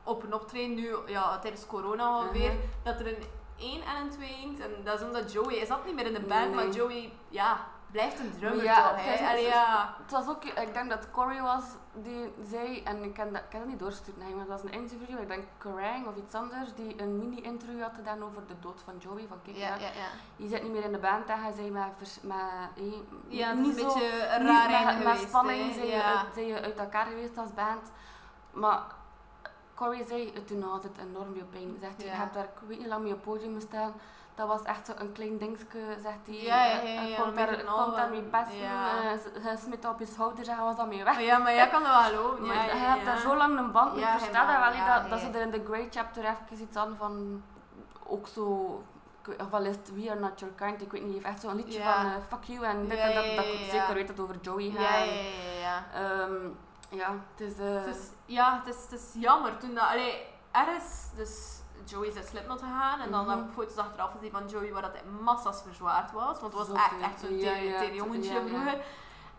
op een optreden nu, ja, tijdens corona alweer,
Mhm.
dat er een 1 en een 2 inkt. En dat is omdat Joey, hij zat niet meer in de band,
Nee.
maar Joey, ja, blijft een drummer
Ja,
toch,
het
hè.
is-
Allee, ja.
Het was ook, ik denk dat Corey was die zei, en ik kan dat, ik kan dat niet doorsturen, nee, maar dat was een interview, ik denk Kerrang of iets anders, die een mini-interview had gedaan over de dood van Joey. Van kijk, ja,
ja, ja.
je zit niet meer in de band en hij zei, maar, vers, maar hé,
Ja, het is een
niet zo-
beetje een
niet-
raar
met-
einde
met
geweest.
spanning
hè.
zijn, je
ja.
uit, zijn je uit elkaar geweest als band. Maar Corey zei, het doet nog altijd enorm veel pijn. Zegt hij,
Ja.
je hebt daar ik weet niet lang mee op het podium gestaan. Dat was echt zo'n klein dingetje, zegt hij.
Ja, ja,
Eh,
ja,
hij
ja,
kon
weet
daar-
ik nog
kon daar
wel.
mee passen.
Ja.
eh, ze- Hij smeet op je schouder en hij was dan mee
Maar
weg.
ja, maar jij kan dat wel geloven.
Maar
Ja,
hij
ja,
had
ja.
daar zo lang een band mee
Ja,
verstaan.
helemaal,
wel, hè,
ja,
dat, dat
ja.
ze er in de Great Chapter even iets aan van... Ook zo... ik weet- Of al is het We Are Not Your Kind, ik weet niet, heeft echt zo'n liedje
Ja.
van eh, Fuck You en dit
Ja,
en dat,
ja, ja,
dat ik
ja.
zeker weet dat het over Joey gaat.
Ja, ja, ja, ja, ja.
Ehm, ja, het is... eh,
Het is, ja, het is, het is jammer. Toen dat, allee, er is dus Joey is uit Slipknot gegaan en dan
Mhm.
heb ik foto's achteraf gezien van Joey waar dat hij massas verzwaard was. Want het was
Zo
echt,
te-
echt zo'n
ja,
tere-
ja,
tere jongetje
ja, ja.
vroeger.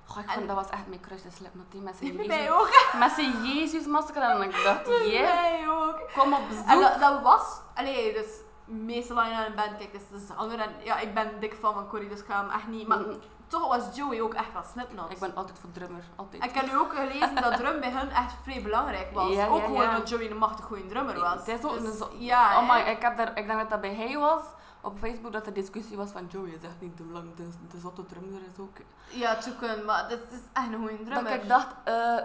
goh, ik
en-
vond, dat was echt mijn crush, de Slipknot, die met zijn
Mij
Jezus,
ook.
met zijn Jezus-masker. En ik dacht, yes,
Mij ook.
kom op
En
bezoek.
dat, dat was, allee, dus meestal als je naar een band kijkt, is de zanger. En ja, ik ben dik fan van Corrie, dus ik ga hem echt niet. Maar
Mm,
toch was Joey ook echt wel Slipknot.
Ik ben altijd voor drummer, altijd.
Ik heb nu ook gelezen dat drum bij hun echt vrij belangrijk was.
Ja, ja,
ook gewoon
ja.
omdat Joey een machtig goede drummer was. Dus,
Het is ook een zo-
ja,
Oh my,
hè.
ik, heb daar, ik denk dat dat bij hij was, op Facebook, dat er discussie was van Joey is echt niet te lang, de, de zotte drummer is ook...
ja, Tukun, maar dat is echt een goede drummer.
Dat ik dacht, eh,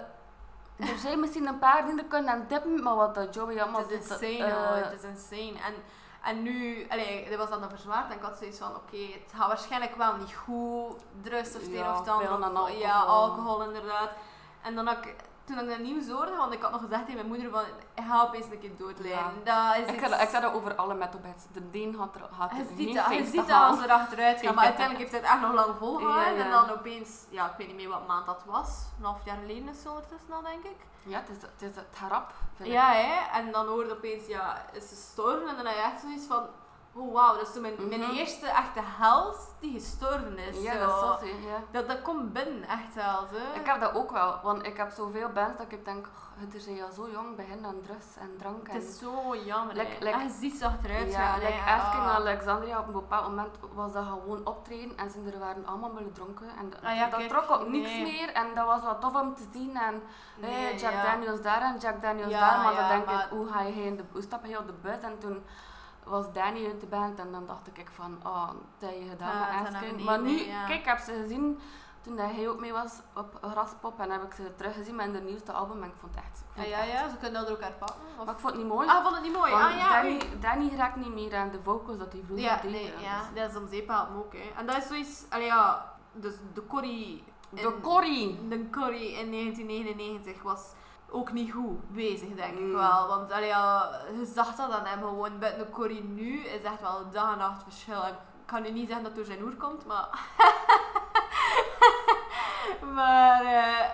er zijn misschien een paar die er kunnen aan tippen, maar wat dat Joey allemaal
het is
doet,
insane,
eh,
hoor. Het is insane. En, en nu, allee, dat was dan een verzwaard en ik had zoiets van, oké, het gaat waarschijnlijk wel niet goed. Drugs of het een
Ja,
of het ander.
pillen en
Ja,
alcohol.
alcohol inderdaad. En dan had ik toen ik dat nieuws hoorde, want ik had nog gezegd tegen mijn moeder van, help eens een keer doodlijnen. Dat is
Ik,
iets-
had- ik zei dat over alle metalbands. De Deen had er, had
Je
er
ziet
geen
dat, je
feest
ziet dat
gehad.
als we achteruit gaan, maar uiteindelijk heeft hij het echt nog lang volgehouden.
Ja, ja.
En dan opeens, ja, ik weet niet meer wat maand dat was, een half jaar geleden is het ondertussen al, denk ik.
Ja, het is, het is het harap, vind ik.
Ja, hè? en dan hoorde opeens, ja, is gestorven en dan had je echt zoiets van, oh wauw, dat is toen mijn, mijn
Mhm.
eerste echte held die gestorven is.
Ja,
zo.
dat is zot, hè, ja.
dat, dat komt binnen, echt wel. Zo.
Ik heb dat ook wel, want ik heb zoveel bands dat ik denk, oh, er zijn al zo jong begin aan drugs en drank. En...
Het is zo jammer.
Like-
hè.
like-
en je ziet ze achteruit
ja,
gaan. hè.
like Asking
Ah.
Alexandria op een bepaald moment was dat gewoon optreden en ze er waren allemaal willen dronken. En dat,
Ah ja,
dat
kijk,
trok op niks
nee.
meer en dat was wat tof om te zien. En
Nee,
hey, Jack
ja.
Daniels daar en Jack Daniels
Ja,
daar, maar
ja,
dan denk
maar-
ik, hoe, ga je in de, hoe stap je op de bus? En toen was Danny uit de band en dan dacht ik van, oh, dat heb je gedaan
Ah, het
met
is
Asking.
een
maar nu,
nee, ja.
kijk, ik heb ze gezien toen dat hij ook mee was op Graspop en heb ik ze teruggezien met hun nieuwste album en ik vond het echt... ik vond
Ah,
het
ja,
echt-
ja, ze kunnen dat door elkaar pakken. Of...
Maar ik vond het niet mooi.
Ah, vond het niet mooi.
Want
Ah, ja,
Danny,
oei.
Danny raakt niet meer aan de vocals dat hij vroeger
Ja,
deed.
nee,
Dus
ja. Dat is om zeep helpen ook, hè. En dat is zoiets... Allee, ja, dus de Corrie...
De Corrie.
De Corrie in 1999 was ook niet goed bezig, denk ik
Mm.
wel. Want allee, ja, je zag dat aan hem gewoon. Buiten de Corrie nu is echt wel dag en nacht verschil. Ik kan nu niet zeggen dat het door zijn oer komt, maar... maar... eh,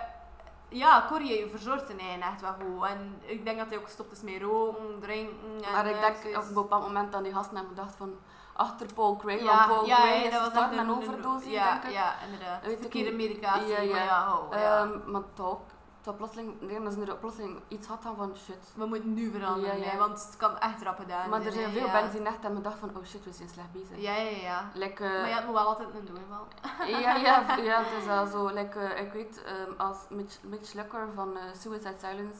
ja, Corrie verzorgt zijn eigen echt wel goed. En ik denk dat hij ook gestopt is met roken, drinken... En,
Maar ik
eh,
denk
zoiets.
op een bepaald moment dat die gasten hebben gedacht van... Achter Paul Gray,
Ja,
want Paul
ja,
Gray
ja, dat
is
was
gestart
echt
met een overdosis,
ja,
denk ik.
Ja, inderdaad.
Weet ik
Verkeerde
niet.
medicatie,
Ja, ja.
maar ja, oh, ja.
Ehm, maar toch, dat plotseling, ik denk dat ze er plotseling iets had van van shit.
we moeten nu veranderen,
ja, ja.
hè, want het kan echt rap gedaan
Maar er
zijn,
zijn
hè,
veel
ja.
bands die echt hebben gedacht van oh shit, we zijn slecht bezig.
Ja, ja, ja.
Like, eh,
Maar je moet wel altijd een doen, wel.
ja, ja, ja, het is wel zo. Like, eh, ik weet, ehm, als Mitch, Mitch Lucker van eh, Suicide Silence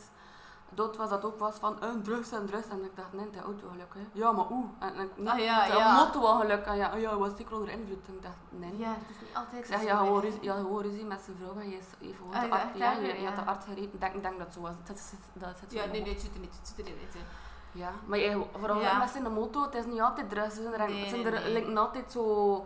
dood was, dat ook was van eh, drugs en drugs. En ik dacht, nee, dat auto-ongeluk. hè. Ja, maar oeh. En, en, nee,
Ah, ja,
dat
ja.
motorongeluk. En ja, oh ja, hij was zeker onder invloed. En ik dacht, nee.
Ja, het is niet altijd
Ik zeg, ja, gewoon ruzie, ja, gewoon ruzie met zijn vrouw. En je is even gewoon
Ah,
de
ja,
arts,
echt,
ja,
hè?
je, je had de
Ja.
arts gereden. Ik denk, ik denk dat zo was. Dat is, dat zit zo
Ja,
in mijn
nee, nee, het
hoofd.
zit er niet, het zit er niet, het zit er niet.
Ja, maar je, vooral
Ja.
met zijn moto, het is niet altijd drugs. Ze zijn er,
Nee,
zijn
nee,
er
nee.
lijken altijd zo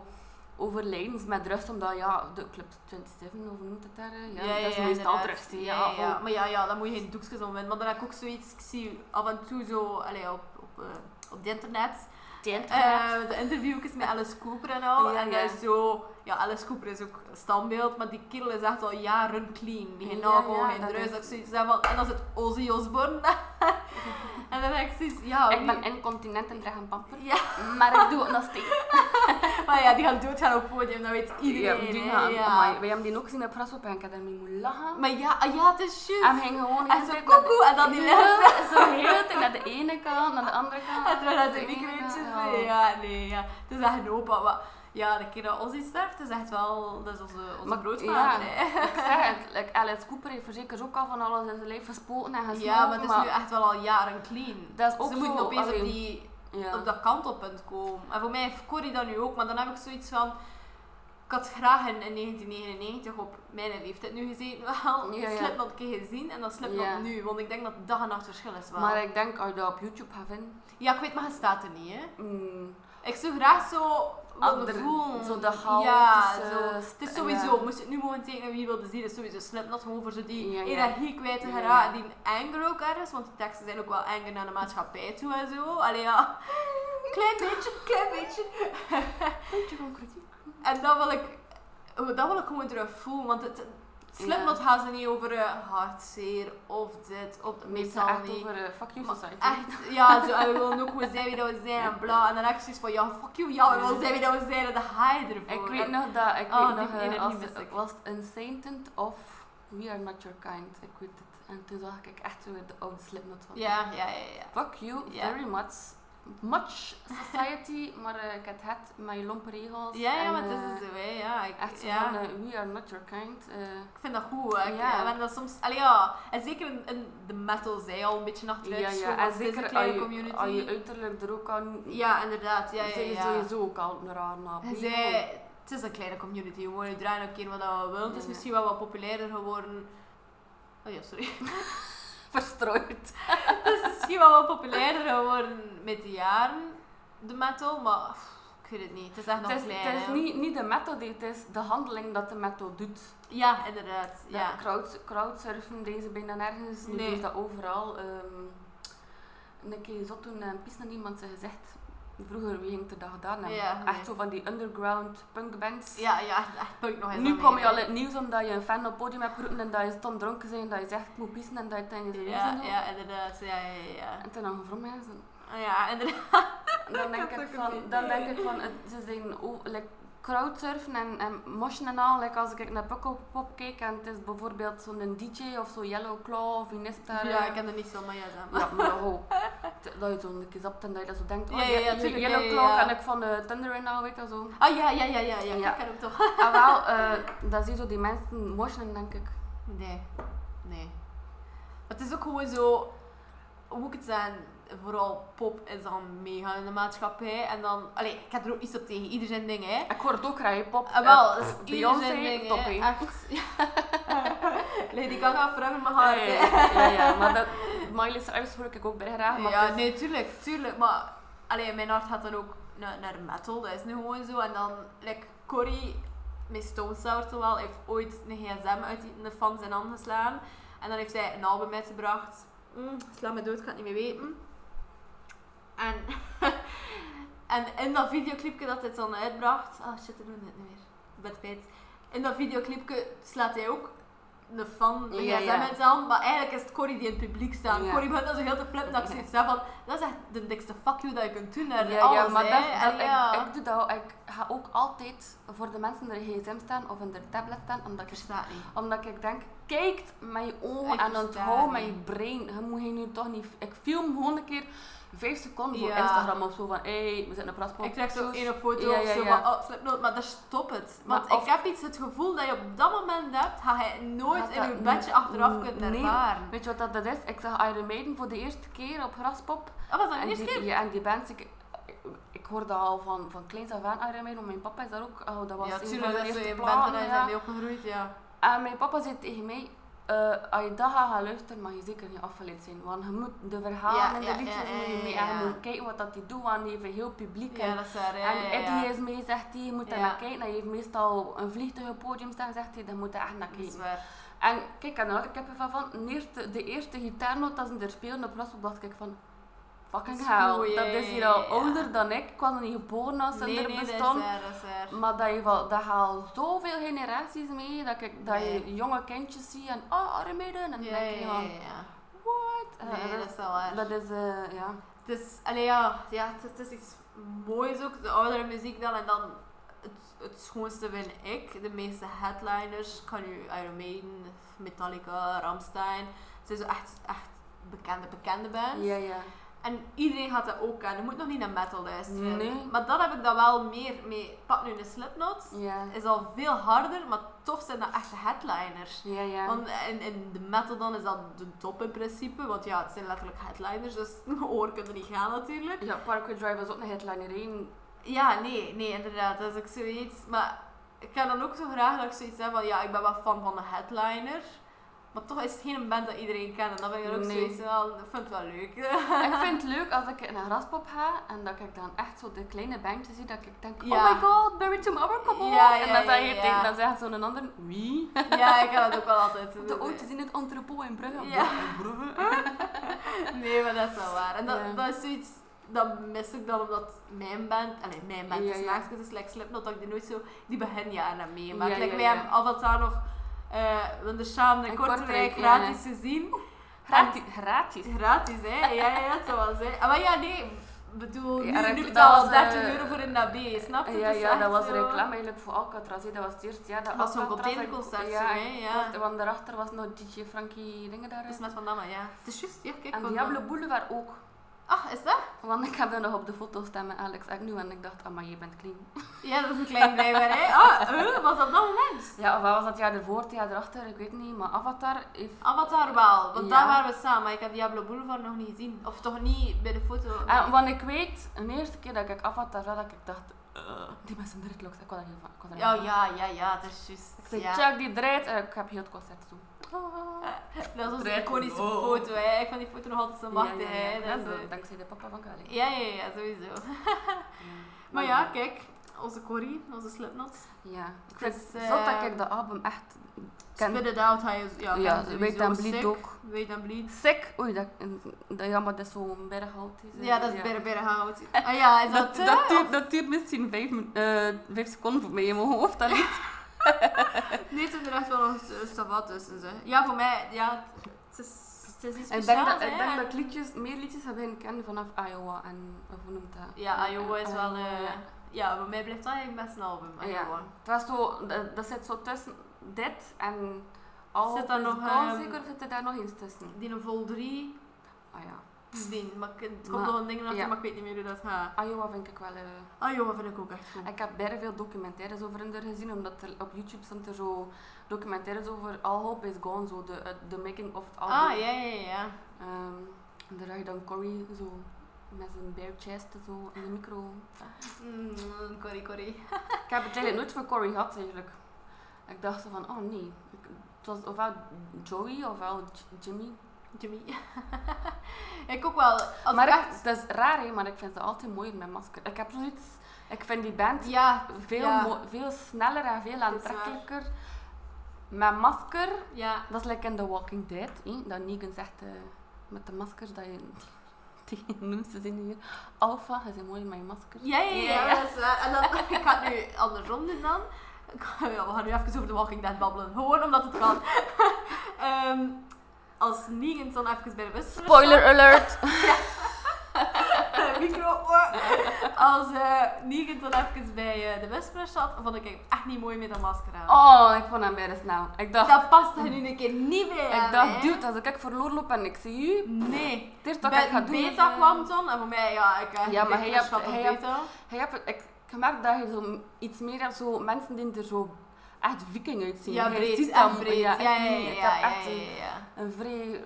overlijdens met drugs, omdat ja, de club 27, of hoe noemt het daar? hè? Ja, dat is meestal
inderdaad.
drugs. hè.
Ja, ja, ja.
oh.
Maar ja, ja, dan moet je geen doekjes om winnen. Maar dan heb ik ook zoiets, ik zie af en toe zo, allee, op, op, eh, op het internet,
Tent gehad.
Eh, de interviewjes met Alice Cooper en al.
Ja,
en
ja.
dat is zo... Ja, Alice Cooper is ook een standbeeld, maar die kerel is echt al jaren clean. Geen
Ja,
alcohol,
ja,
geen
dat
drugs.
is-
dat ik zoiets heb van, en dan is het Ozzy Osbourne. en dan denk ik zoiets... Ja,
ik
wie-
ben incontinent en draag een pamper,
Ja,
maar ik doe het nog steeds.
maar ja, die gaan doodgaan op het podium, dat weet iedereen.
die
hè,
gaan,
ja.
amai, wij hebben die ook gezien op Rasop en ik heb daarmee moeten lachen.
Maar ja, ah ja, het is
En
juist.
ging gewoon
En zo koekoe, en dan die
Ja,
mensen.
zo heel de tijd naar de ene kant, naar de andere kant.
En terwijl dat de
naar ene
microotjes...
kant, ja.
Ja, nee, ja. Het is echt een opa, maar... Ja, de keer dat Ozzy sterft, is echt wel... Dat is onze, onze
Maar-
grootvader,
ja.
hè.
Ik zeg het, like, Alice Cooper heeft verzekerd ook al van alles in zijn leven gespoten en gesmoken.
Ja, maar het is nu echt wel al jaren clean.
Dat is ook
Ze
zo,
moeten opeens op,
allee,
die,
ja.
op dat kantelpunt komen. En voor mij heeft Corrie dat nu ook, maar dan heb ik zoiets van... Ik had graag in, in 1999 op mijn leeftijd nu gezeten. Wel,
Ja, ja.
Slipknot een keer gezien en dan Slipknot
Ja.
nu. Want ik denk dat dag en nacht verschil is wel.
Maar ik denk als je dat op YouTube gaat vinden,
Ja, ik weet maar je staat er niet, hè.
mm,
Ik zou graag zo... Ander,
Ander- zo de hal
Ja,
tussen-
zo. Het is sowieso... Moest je het nu mogen tekenen wie wilde zien, is sowieso Slipknot. Gewoon voor zo die
Ja, ja.
energie kwijt te
Ja, ja.
geraken. Die anger ook ergens, want die teksten zijn ook wel anger naar de maatschappij toe en zo. Allee, ja. Klein beetje, klein beetje.
puntje van kritiek.
En dat wil ik... Dat wil ik gewoon terug voelen, want het... Slipknot gaat ze niet over eh, hartzeer of dit of
Meestal echt
niet.
over eh, fuck you
Maar
society.
Echt, ja, zo, en we willen ook gewoon zijn wie dat we zijn en bla. En dan heb ik zoiets van, ja, fuck you, ja, we willen zijn wie dat we zijn en dan ga je ervoor.
Ik weet nog dat, ik
Oh,
weet
die
nog,
ene
eh,
die
als,
mis ik.
was het Unsainted of We Are Not Your Kind, ik weet het. En toen zag ik echt weer de oude Slipknot van.
Ja, ja, ja, ja.
Fuck you
Ja.
very much. Much society, maar eh, ik heb het met je lompe regels.
Ja, ja,
en,
maar het
eh,
is zo, hè. Ja, ik,
Echt zo
ja.
van, eh, we are not your kind. eh,
ik vind dat goed. hè. Ik
Ja.
ja. ben dat soms... Allee, ja. En zeker in, in de metal zij al een beetje achteruit
ja, ja,
geschoven,
en
want het is
zeker
een
als
kleine
je, als je
community.
uiterlijk er ook aan...
Ja, inderdaad. Ja, ja,
zijn je
ja.
sowieso ook al een raar naam.
Hij zei, het is een kleine community. We mogen draaien een keer wat we willen. Het is
Ja.
misschien wel wat populairder geworden. Oh ja, sorry.
Verstrooid.
Dus Het is misschien wel wat populairder geworden met de jaren, de metal, maar pff, ik weet het niet. Het is echt nog
Het is,
klein.
het is
hè.
niet, niet de methode, het is de handeling dat de methode doet.
Ja, inderdaad.
Ja.
Ja.
crowd, crowdsurfen deze bijna nergens, nu
Nee.
is dat overal. Ehm een keer zot doen en pies naar iemand zijn gezicht. Vroeger, wie ging er dat gedaan hebben?
Ja, nee.
Echt zo van die underground punkbands.
Ja, ja, echt, echt punk nog eens.
Nu
aan
kom
mee,
je al
hè.
in het nieuws omdat je een fan op het podium hebt geroepen en dat je stom dronken bent en dat je zegt ik moet pissen en dat je het in je neus en
Ja,
zo.
ja, inderdaad. Ja, ja, ja, ja. Oh
En toen dan gevrom mensen.
Ja, inderdaad.
En dan denk
had
ik
ook
van,
een
dan
idee.
denk ik van het, ze zijn o- like, crowdsurfen en, en moshen en al. Like als ik naar Pukkelpop kijk en het is bijvoorbeeld zo'n DJ of zo Yellow Claw of Inista.
Ja,
eh,
ik ken er niet zo, maar ja, zeg maar.
Ja, maar ho. T- Dat je zo'n keer zapt en dat je dat zo denkt. Oh,
Ja, ja, ja,
Ye-
tuurlijk,
Yellow
ja, ja,
Claw
ja.
ken ik van eh Thunder en al, weet je zo.
Ah ja, ja, ja, ja, ja,
Ja.
ik ken hem toch.
Ah wel, eh dan zie je zo die mensen moshen denk ik.
Nee, nee. Het is ook gewoon zo, hoe moet ik het zeggen, vooral pop is dan meegaan in de maatschappij. En dan, allee, ik heb er ook iets op tegen, ieder zijn ding, hè.
Ik hoor het ook rijden, pop.
Ah, wel,
eh,
dat is ieder
Beyoncé,
zijn ding,
top,
hè.
hè.
Echt. Lady Gaga, forever in mijn
Ja,
hart,
ja,
hè.
Eh, ja, ja, maar dat, Miley Cyrus hoor ik ook bij graag. Maar
Ja,
het is-
nee, tuurlijk, tuurlijk. Maar allee, mijn hart gaat dan ook naar, naar metal, dat is nu gewoon zo. En dan, like, Corrie, met Stone Sour toch wel, heeft ooit een gsm uit die- de fan zijn hand geslaan. En dan heeft zij een album uitgebracht. Mm, sla me dood, ik ga het niet meer weten. En, en in dat videoclipje dat hij dan uitbracht... Ah, shit, ik doe het niet meer. Ik ben het kwijt. In dat videoclipje slaat hij ook een fan de
Ja,
gsm
ja.
uit zijn hand. Maar eigenlijk is het Corrie die in het publiek staat.
Ja.
Corrie begint dan zo heel te flippen dat ik zoiets heb van... Dat is echt de dikste fuck you dat je kunt doen naar
ja,
alles,
ja, maar
hè.
dat,
En
dat,
ja.
ik, ik doe dat. Ik ga ook altijd voor de mensen die in gsm staan of in de tablet staan, omdat ik,
versta het niet.
omdat ik denk, kijk met je ogen
Ik
en
versta
onthoud
het
met je
niet.
brein. Je moet je nu toch niet... Ik film gewoon een keer vijf seconden voor
Ja.
Instagram of zo van, hé, hey, we zitten op Raspop.
Ik krijg zo
Tjus.
één foto
Ja, ja,
of zo
ja.
van, oh, Slipknot, maar daar stop het. Want
Maar of-
ik heb iets het gevoel dat je op dat moment hebt, ga je nooit
Gaat
in
dat
je bedje
n-
achteraf
n-
kunt
nee.
ervaren.
Weet je wat dat, dat is? Ik zag Iron Maiden voor de eerste keer op Raspop.
Dat was dat de
En
eerste
die,
keer?
ja, en die band, ik, ik hoorde al van, van kleins af aan Iron Maiden, want mijn papa is daar ook, oh, dat was
Ja,
een van
tuurlijk,
zijn
dat is zo
eerste
je bent en
platen,
hij
ja.
zijn mee opgegroeid, ja.
En Eh, mijn papa zei tegen mij, eh, als je dat gaat gaan luisteren, mag je zeker niet afgeleid zijn, want je moet de verhalen
Ja,
en de
ja,
liedjes
ja, ja,
moet je mee,
ja,
en je
ja.
moet kijken wat dat die doet, want die heeft een heel publiek.
Ja,
en
dat is waar, ja,
en
ja, ja.
Eddie is mee, zegt hij, je moet daar
Ja.
naar kijken. En hij heeft meestal een vliegtuig op het podium staan, zegt hij, dan moet je echt naar
Dat is
kijken.
waar.
En kijk, en dan had ik heb van, van de eerste, de eerste gitaarnoot dat ze er speelden op Raspel, dacht ik van, fucking
Dat is
hell,
goed,
dat
ja,
is hier
ja,
al
ja.
ouder dan ik. Ik was nog niet geboren als ze
Nee,
er
nee, dat is
bestond.
waar, dat is waar.
Maar dat, je wel, dat haalt zoveel generaties mee, dat, ik, dat je
Nee.
jonge kindjes ziet en oh, Armeden. En dan
Ja,
denk je
ja, ja,
van,
ja.
what? Eh,
Nee, dat is wel
dat,
waar.
is, eh, ja.
Het is, allee, ja, ja het, het is iets moois ook, de oudere muziek dan. En dan het, het schoonste vind ik, de meeste headliners. Ik kan nu Iron Maiden, Metallica, Ramstein. Het zijn zo echt, echt bekende, bekende bands.
Ja, ja.
En iedereen gaat dat ook kennen. Je moet nog niet naar metal luisteren.
Nee.
Maar dat heb ik dan wel meer mee. Pak nu een Slipknot.
Ja,
Is al veel harder, maar toch zijn dat echte headliners.
ja. ja.
Want in, in de metal dan is dat de top in principe. Want ja, het zijn letterlijk headliners, dus mijn oren kunnen niet gaan natuurlijk.
ja, Parkway Drive was ook een headliner één.
Ja, nee, nee, inderdaad. Dat is ook zoiets. Maar ik kan dan ook zo graag dat ik zoiets heb van, ja, ik ben wel fan van de headliner. Maar toch is het geen band dat iedereen kent. En dan ben ik dan ook
Nee.
zoiets wel, ik vind het wel leuk.
ik vind het leuk als ik naar Raspop ga en dat ik dan echt zo de kleine bandjes zie, dat ik denk,
Ja.
oh my god, Barry Tomorrow, come on!
Ja, ja,
en dan zeg je
ja, ja.
tegen, dan zegt zo'n ander, wie?
ja, ik kan dat ook wel altijd
De ootjes in het entrepot in Brugge.
Ja.
Brugge.
Nee, maar dat is wel waar. En dat,
Ja.
dat is zoiets, dat mis ik dan omdat mijn band, allee, mijn band,
Ja,
is
ja.
naast is like Slipknot, dat ik die nooit zo, die beginjaren heb meegemaakt.
Ja, ja,
Like, wij
ja.
hebben Avatar nog, eh Wonder Shaam en
In
Kortrijk
Kortrijk, ja.
gratis gezien.
Gratis. gratis.
Gratis, hè? Ja, ja, ja, het zou wel zijn. Ah, Maar ja, nee, ik bedoel,
Ja,
nu,
recl-
nu
dat
betaal
was,
al 13
eh,
euro voor een AB, snap je?
Ja,
Het is
ja,
echt
dat was
zo.
reclame eigenlijk voor Alcatraz. hè. Dat was het eerste jaar dat
Dat was zo'n
Alcatraz-
containerconcert
Ja,
zo, hè, ja. Dus
klopt, Want daarachter was nog DJ Frankie dingen daar.
Dat
hè.
is met Van Damme, ja. Het is juist, ja, kijk.
En
Van
Diablo
Damme.
Boulevard ook.
Ach, is dat?
Want ik heb dat nog op de foto staan met Alex Agnew en ik dacht, maar je bent clean.
Ja, dat is een klein blijver, hè? Ah, eh, was dat dat moment?
Ja, of wat was dat jaar ervoor, het jaar erachter, ik weet niet. Maar Avatar heeft...
Avatar wel, want daar
Ja.
waren we samen, maar ik heb Diablo Boulevard nog niet gezien. Of toch niet bij de foto.
En, Ah, want ik weet, de eerste keer dat ik Avatar zag, dat ik dacht, eh, die mensen dreadlocks, ik kon er heel van. Ik kon er heel
Ja,
van.
ja, ja, ja, dat is juist.
Ik zei,
ja. Ah. Eh,
check die dread en ik heb heel het concert zo.
Dat was onze
Dread.
iconische
Oh.
foto, hè? Ik vond die foto nog altijd zo machtig,
Ja, ja, ja.
hè?
En
Dat is,
zo,
eh,
dankzij de papa van Kali.
ja, ja, ja, sowieso. Maar ja, kijk, onze Corrie, onze Slipknot.
Ja. Ik vind
Dus,
het
eh,
zot dat ik dat album echt ken.
Spit it out, hij is... Ja,
ja,
ken
Wait
sowieso.
and Bleed
Sick,
ook.
Wait and Bleed.
Sick! Oei, dat, dat, ja, maar dat is zo'n berghout. is, hè.
Ja, dat is Berre Berre Hout. Ah ja, is dat...
Dat,
eh,
dat, duurt, dat duurt misschien vijf, min- eh, vijf seconden voor mij in mijn hoofd. Dat lied.
Nee, het is inderdaad wel een s- savat tussen ze. Ja, voor mij, ja, het is, het is iets
Ik
speciaals.
denk, dat, ik
hè,
denk
en-
dat ik liedjes, meer liedjes heb ik kennen vanaf Iowa. En, of hoe noemt dat?
Ja, Iowa is wel...
Iowa,
eh,
ah, ja.
ja, voor mij blijft dat eigenlijk best een album,
Ja.
Iowa.
Het was zo, dat, dat zit zo tussen dit en al
Zit daar
is
nog,
gone,
ehm,
zeker zit er daar nog eens tussen.
Die een vol 3,
Ah ja.
die, maar ik- het komt
Maar-
nog een ding achter,
ja.
maar ik weet niet meer hoe dat gaat.
Iowa vind ik wel... eh,
Iowa vind ik ook echt goed.
Ik heb bijna veel documentaires over hen er gezien, omdat er op YouTube stond er zo documentaires over All Hope Is Gone, zo de, eh, de making of het album.
Ah, ja, ja, ja.
Ehm, en daar zag je dan Corey zo met zijn bare chest zo in de micro.
Mm, Corrie, Corrie.
Ik heb het eigenlijk nooit voor Corey gehad eigenlijk. Ik dacht zo van, oh nee. Ik- het was ofwel Joey ofwel J- Jimmy.
Jimmy. ik ook wel. Als
maar
ik
ik-
echt...
dat is raar hè, maar ik vind ze altijd mooier met masker. Ik heb zoiets, ik vind die band
Ja,
veel,
Ja.
mo- veel sneller en veel
waar.
aantrekkelijker. Met masker,
ja.
dat is like in The Walking Dead, hè, dat Negan zegt eh, met de masker dat je tegen noemt ze zijn hier. Alpha, je bent mooi met je masker.
Ja, ja, ja.
Ja,
ja,
ja.
dat is waar. En dan, ik ga het nu andersom doen dan. Ik ga- ja, we gaan nu even over The Walking Dead babbelen. Gewoon omdat het kan. Ehm, als Negan dan even bij de wissel
Spoiler alert!
micro. oh. Als eh Negan dan even bij eh, de Whisperer zat, vond ik hem echt niet mooi met dat masker aan.
Oh, ik vond hem bijna snel. Ik dacht,
Dat past er nu een keer niet bij.
ik
aan,
dacht,
hè.
dude, als ik verloren loop en ik zie u,
Nee.
het eerste dat ik ga
Bij
doen is,
beta
eh,
kwam toen en voor mij, ja, ik eh,
Ja, maar
ik
hij hebt-
schat op
hij hebt-
beta.
Je hebt, ik, ik heb gemerkt dat je zo iets meer hebt, zo mensen die er zo echt viking uitzien.
Ja,
Je
breed,
ziet
echt
dat-
breed. Ja, ja, ja,
ik- ik
ja,
heb
ja,
echt een-
ja, ja.
Een vrij...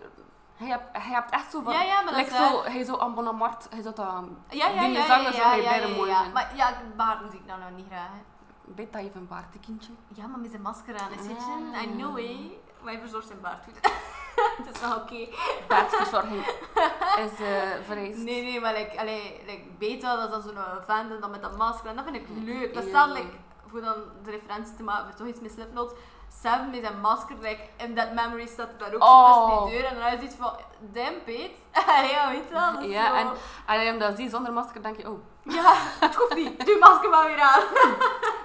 Hij hebt, hij hebt echt zo van...
Ja, ja, maar dat
like
is waar.
zo, hij zo aan Bonamart, hij zat aan...
Ja, ja,
Die
ja, ja,
zanger
ja,
zou hij
ja,
bijna
ja,
mooi
ja.
zijn.
Maar ja, baarden zie ik nou, nou niet graag. hè.
Weet dat je een baartekindje?
Ja, maar met zijn masker aan, is het
Ah.
I know, hé. Maar hij verzorgt zijn baard goed. Het is wel oké.
Baardverzorging is eh vereist.
Nee, nee, maar like, allee, like beta, dat is dan zo'n vent en dan met dat masker. En dat vind ik
Mm,
leuk. Dat is
ja.
dan, like, voor dan de referentie te maken, voor toch iets met Slipknot. Seven met zijn masker, like, in that memory staat hij daar ook zo tussen
Oh.
die deur. En dan is iets van, damn, Pete. Allee, ja, weet je wel. dat is
Ja,
zo-
en als je hem dat ziet zonder masker, denk je, oh.
Ja, het hoeft niet. Doe masker maar weer aan.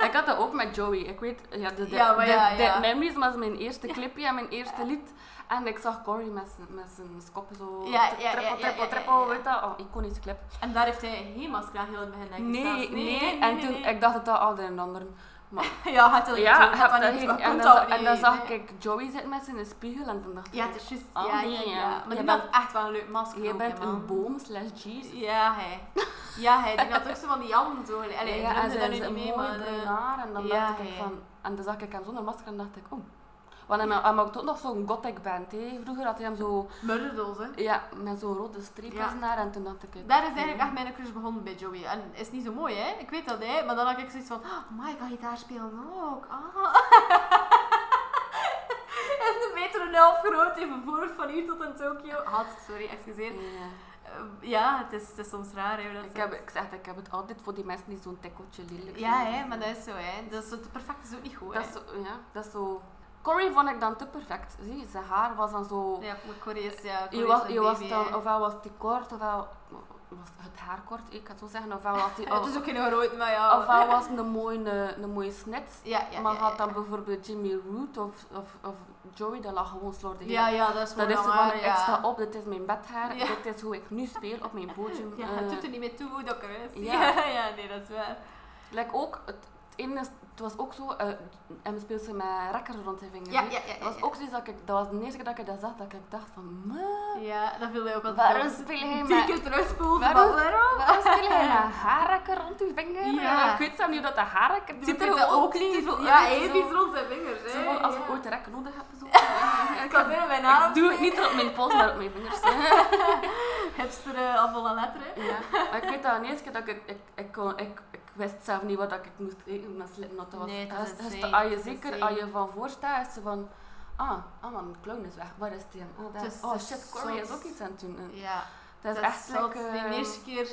Ik had dat ook met Joey. Ik weet, ja, de, de,
Ja, maar
de-
ja,
de
ja.
Memories was mijn eerste clipje en mijn eerste lied. En ik zag Corey met zijn- met zijn kop zo
Ja, ja, ja, ja,
trippel, trippel,
ja, ja,
trippel,
ja.
trippel, weet dat? Oh, iconische clip.
En daar heeft hij geen masker aan heel in het begin, denk ik.
Nee, nee,
zelfs.
En toen, ik dacht dat dat ouder en ander.
Ja, had dat
Ja,
niet, had
ik heb
dat
dat
niet,
ging-
maar
en
kon
dan
dat
za- en dan
niet,
zag
nee.
ik Joey zitten met zijn spiegel en toen dacht ik,
Ja, het is juist.
Oh,
ja,
nee,
ja,
ja.
ja. Maar
Je
die had
bent-
echt wel een leuk masker.
jij
ook,
bent
hè, man.
een boom slash Jesus.
Ja, hij. Ja, hij. Die had ook zo van die jam zo. Allee,
Ja,
ik
ja, en
drumde
ze
dat
is
nu
een
niet mee,
mooi
maar...
bruin
eh,
haar. En dan
ja,
dacht ik
ja.
van... En dan zag ik hem zonder masker en dacht ik, oh. Want hij hij maakte ook nog zo'n gothic band, hè. Vroeger had hij hem zo...
Murderdoos, hè.
Ja, met zo'n rode streepjes
Ja.
naar. En toen dacht ik...
Daar is eigenlijk echt mijn crush begonnen bij Joey. En is niet zo mooi, hè. Ik weet dat, hè. Maar dan had ik zoiets van... Oh my, kan je daar spelen ook? Ah. Hij is een meter en een half groot. Even voor van hier tot in Tokio. Had, sorry, excuseer.
Ja.
Eh, Ja, het is, het is soms raar, hè. hoe dat
Ik,
zit.
heb, ik zeg, ik heb het altijd voor die mensen die zo'n tikkeltje lelijk
Ja,
vinden.
hè, maar dat is zo, hè. Dat is, zo- het perfect is ook niet goed,
Dat is zo... Ja, dat is zo... Corrie vond ik dan te perfect. Zie, je, zijn haar was dan zo...
hè. Ja, maar Korea's, ja,
Je
Korea's
was,
een
je was
baby,
dan,
hè.
ofwel was het te kort, ofwel was het haar kort, ik kan het zo zeggen. Ofwel was, die,
Ja, Het is ook geen rood, maar ja.
ofwel was het een mooie, een, mooie snit.
Ja, ja,
maar
ja,
had
ja,
dan
ja.
bijvoorbeeld Jimmy Root of, of, of Joey, dat lag gewoon slordig.
Ja, ja, dat is
Dat
gewoon
is zo van,
waar,
ik
ja.
sta op, dit is mijn bedhaar,
Ja.
dit is hoe ik nu speel op mijn podium.
Ja,
Eh,
het doet er niet meer toe hoe dat ik eruit zie.
ja.
Ja. ja, nee, dat is waar.
like ook, het, het ene is- het was ook zo, eh, en we speelden ze met rekkers rond zijn vingers.
Ja,
hè.
ja, ja. ja,
Dat was
ja.
ook zoiets dat ik, dat was de eerste keer dat ik dat zag, dat ik dacht van, "Meh,
Ja, dat viel mij ook altijd
waarom
op.
speel jij
Tien
met
keer terugspoelen, maar
Waarom?
waarom?
Waarom speel je een haarrekker rond je vinger?
Ja.
Ik weet zelf niet dat de haarrekker... Het ziet er
Doe ik
ook
dat
niet zo
Ja,
uit, zo.
episch rond zijn vingers, hè.
Zo van, als
ja.
ik ooit een rek nodig heb, zo.
Ik had bijna mijn naam.
Ik doe het niet op mijn pols, maar op mijn vingers. hè.
Hipster eh, af alle letteren.
Ja. Maar ik weet dat ineens dat ik... Ik, ik, kon, ik, ik wist zelf niet wat ik moest rekenen met slipknot. Dat was...
Nee, dat is
dat
insane,
als je
dat is
zeker
insane.
als je van voor staat, is ze van... Ah, ah man, clown is weg. Waar is die? Oh, daar-
Het is-
oh
het is
shit, Corey is
zot.
ook iets aan het doen.
Ja,
Dat is
dat
echt...
zot.
like,
Die
eh,
eerste keer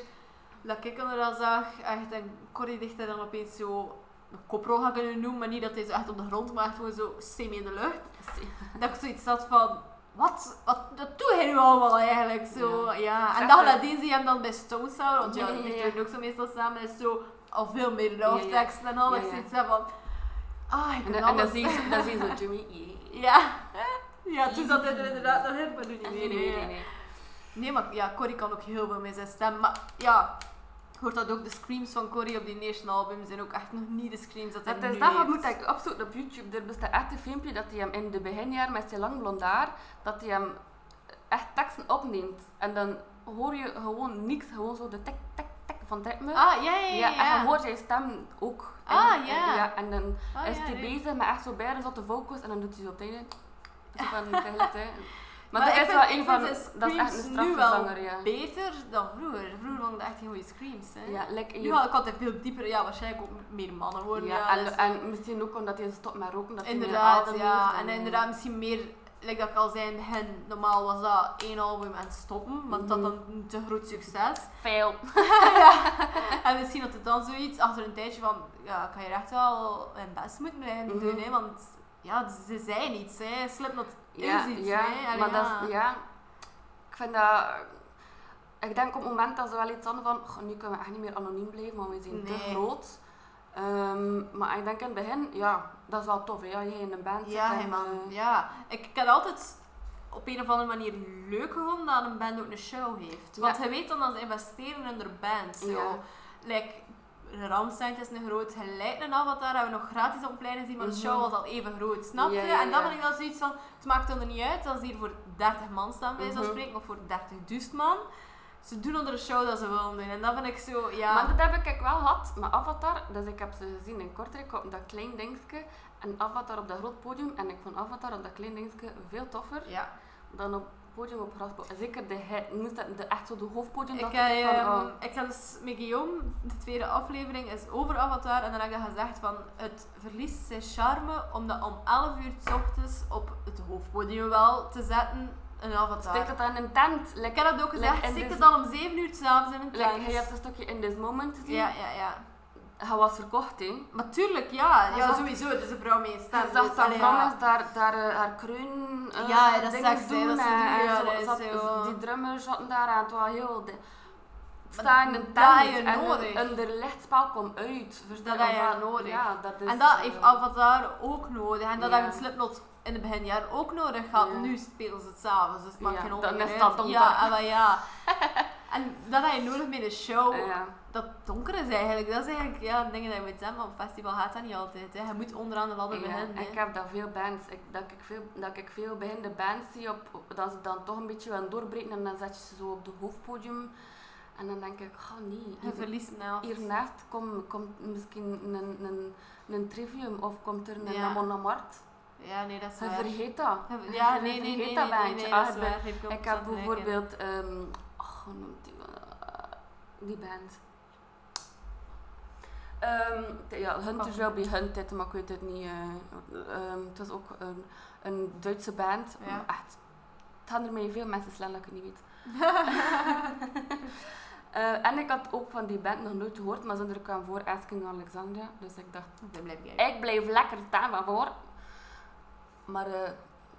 dat ik inderdaad zag, echt, en Corrie dicht dan opeens zo een koprol gaan kunnen noemen, maar niet dat hij zo echt op de grond, maar echt gewoon zo semi in de lucht. Dat ik zoiets had van, wat, wat dat doe hij nu allemaal eigenlijk? Zo, ja.
Ja.
En
Echt,
dan
eh,
nadien zie je hem dan bij Stone Sour, want ja,
Ja, ja,
die
ja.
doen ook zo meestal samen, is zo al veel meer
Ja, ja.
love tekst en al, dat
Ja,
ik
ja.
zoiets heb van, ah, ik
En,
ben
dan- en
alles.
dan zien ze, dan zien ze Jimmy. yeah.
Ja. Ja, toen zat hij er inderdaad nog in, maar nu niet meer.
Nee, nee, nee. nee.
Nee, maar ja, Corrie kan ook heel veel met zijn stem. Maar ja, je hoort dat ook, de screams van Corrie op die eerste album zijn ook echt nog niet de screams dat hij
Dat
nu
is dat wat
heeft.
moet ik opzoeken op YouTube. Er bestaat echt een filmpje dat hij hem in de beginjaar met zijn lang blond haar, dat hij hem echt teksten opneemt. En dan hoor je gewoon niks, gewoon zo de tik, tik, tik van het ritme.
Ah, ja, ja,
ja,
ja.
en je hoort zijn stem ook. En-
Ah, ja.
en- ja. En dan
Ah,
is
ja,
hij
nee.
bezig met echt zo bijna zotte vocals en dan doet hij zo op het einde. Zo van tegelijkertijd. Maar,
Maar
dat
ik
is
vind-
wel
ik
een
vind
van,
zijn
dat is echt een
screams nu wel
strafverzanger, ja.
Beter dan vroeger. Vroeger waren dat echt geen goede screams, hè.
Ja, like
Nu had ik altijd veel dieper, ja, waarschijnlijk ook meer mannen
ja,
worden. Ja,
en,
dus-
en misschien ook omdat hij stopt met roken, dat hij meer
Inderdaad,
adem
ja.
heeft
En inderdaad, misschien meer, like dat ik al zei, in het begin, normaal was dat één album en stoppen, want dat
Mhm.
dan een te groot succes.
Veel.
ja. En misschien dat het dan zoiets achter een tijdje van, ja, kan je echt wel mijn best moeten blijven
Mhm.
doen, hè? Want ja, ze zijn iets, hè? Slipknot
ja,
is iets,
ja,
hè? Allee,
maar
ja.
dat is, ja, ik vind dat, ik denk op het moment dat ze wel iets hadden van, "Goh, nu kunnen we echt niet meer anoniem blijven, want we zijn
Nee.
te groot. Ehm, maar ik denk in het begin, ja, dat is wel tof, hè, ja, je in een band zit
Ja,
en,
helemaal.
eh,
Ja, ik, ik heb altijd op een of andere manier leuk gevonden dat een band ook een show heeft. Want
Ja.
je weet dan dat ze investeren in hun band. Zo.
Ja.
Like, Ramstein het is een groot gelijk een avatar, hebben we nog gratis op plein gezien, maar de
Mhm.
show was al even groot, snap je?
Ja, ja,
En dan
ja.
ben ik dan zoiets van, het maakt dan er niet uit als ze hier voor 30 man staan bij zo'n
Mhm.
spreken, of voor 30.000 man. Ze doen onder de show dat ze willen doen. En dat vind ik zo, ja...
Maar dat heb ik wel gehad met Avatar. Dus ik heb ze gezien in Kortrijk op dat klein dingetje. En Avatar op dat groot podium. En ik vond Avatar op dat klein dingetje veel toffer
ja.
dan op het podium op Grasbo. Zeker de, he- moest dat- de, echt zo de hoofdpodium.
Ik,
dacht
heb,
van,
ehm,
oh.
ik heb dus met Guillaume, de tweede aflevering is over Avatar. En dan heb ik dat gezegd van het verliest zijn charme om dat om 11 uur 's ochtends op het hoofdpodium wel te zetten. Een avatar.
Steek dat aan een tent.
ik
Lekker.
heb dat ook
Like
gezegd,
in
stik
this-
het dan om 7 uur s'avonds in een
Like,
tent.
je hebt een stukje in this moment gezien.
ja, ja, ja.
Hij was verkocht, hè.
Maar tuurlijk, ja.
Hij
ja
zag-
sowieso, het is een vrouw mee in
Hij
stem.
zag
dus,
dat
allee, ja.
Frannes daar, daar eh, haar kruin eh,
Ja, ja, dat
dingen
zag ze, dat ze
en-
doen,
en
ja,
zo-
dat is
zat-
heel-
die drummers zaten daar aan. Het was heel... De,
Maar
staan in een
dat heb
tent
je
en
nodig.
een, een lichtspel komt uit. Versta
Dat heb je
Of wat-
nodig.
Ja, dat is,
en dat
eh,
heeft Avatar ook nodig. En dat
Ja.
hebben Slipknot in het beginjaar ook nodig gehad.
Ja.
Nu spelen ze het s'avonds, dus het maakt
Ja,
geen
dan
onderscheid.
is dat donker.
Ja, en dan ja. en dat heb je nodig met een show.
eh, ja.
Dat donker is eigenlijk. Dat is eigenlijk ja, een ding dat je moet zeggen, maar op festival gaat dat niet altijd. Hè. Je moet onderaan de ladder
Ja,
beginnen.
ik
Hè.
heb dat veel bands, ik, dat, ik veel, dat ik veel beginnende bands zie op, op- dat ze dan toch een beetje willen doorbreken en dan zet je ze zo op de hoofdpodium en dan denk ik, oh nee,
Je
hier,
verliest nou.
hiernaast kom- komt misschien een, een, een trivium of komt er een
Ja.
ja. Amart.
Ja, nee, dat is
Je
waar.
vergeet dat.
Ja,
Je
nee, nee, nee, nee,
vergeet dat
nee,
bandje.
nee,
Ah,
dat is
ik ben-
waar. Heeft
Ik heb
constant gelijk in.
bijvoorbeeld, ehm ach, hoe noemt die, Eh, die band? Ehm, t- ja, Hunters
Kan.
will be hunted, maar ik weet het niet. eh, ehm, het was ook een, een Duitse band.
Ja.
Maar echt, het gaan er mee veel mensen slaan dat ik het niet weet. Eh, en ik had ook van die band nog nooit gehoord, maar ze er kwam voor Asking Alexandria. Dus ik dacht,
Dan blijf jij.
ik bleef lekker staan van voor. Maar eh,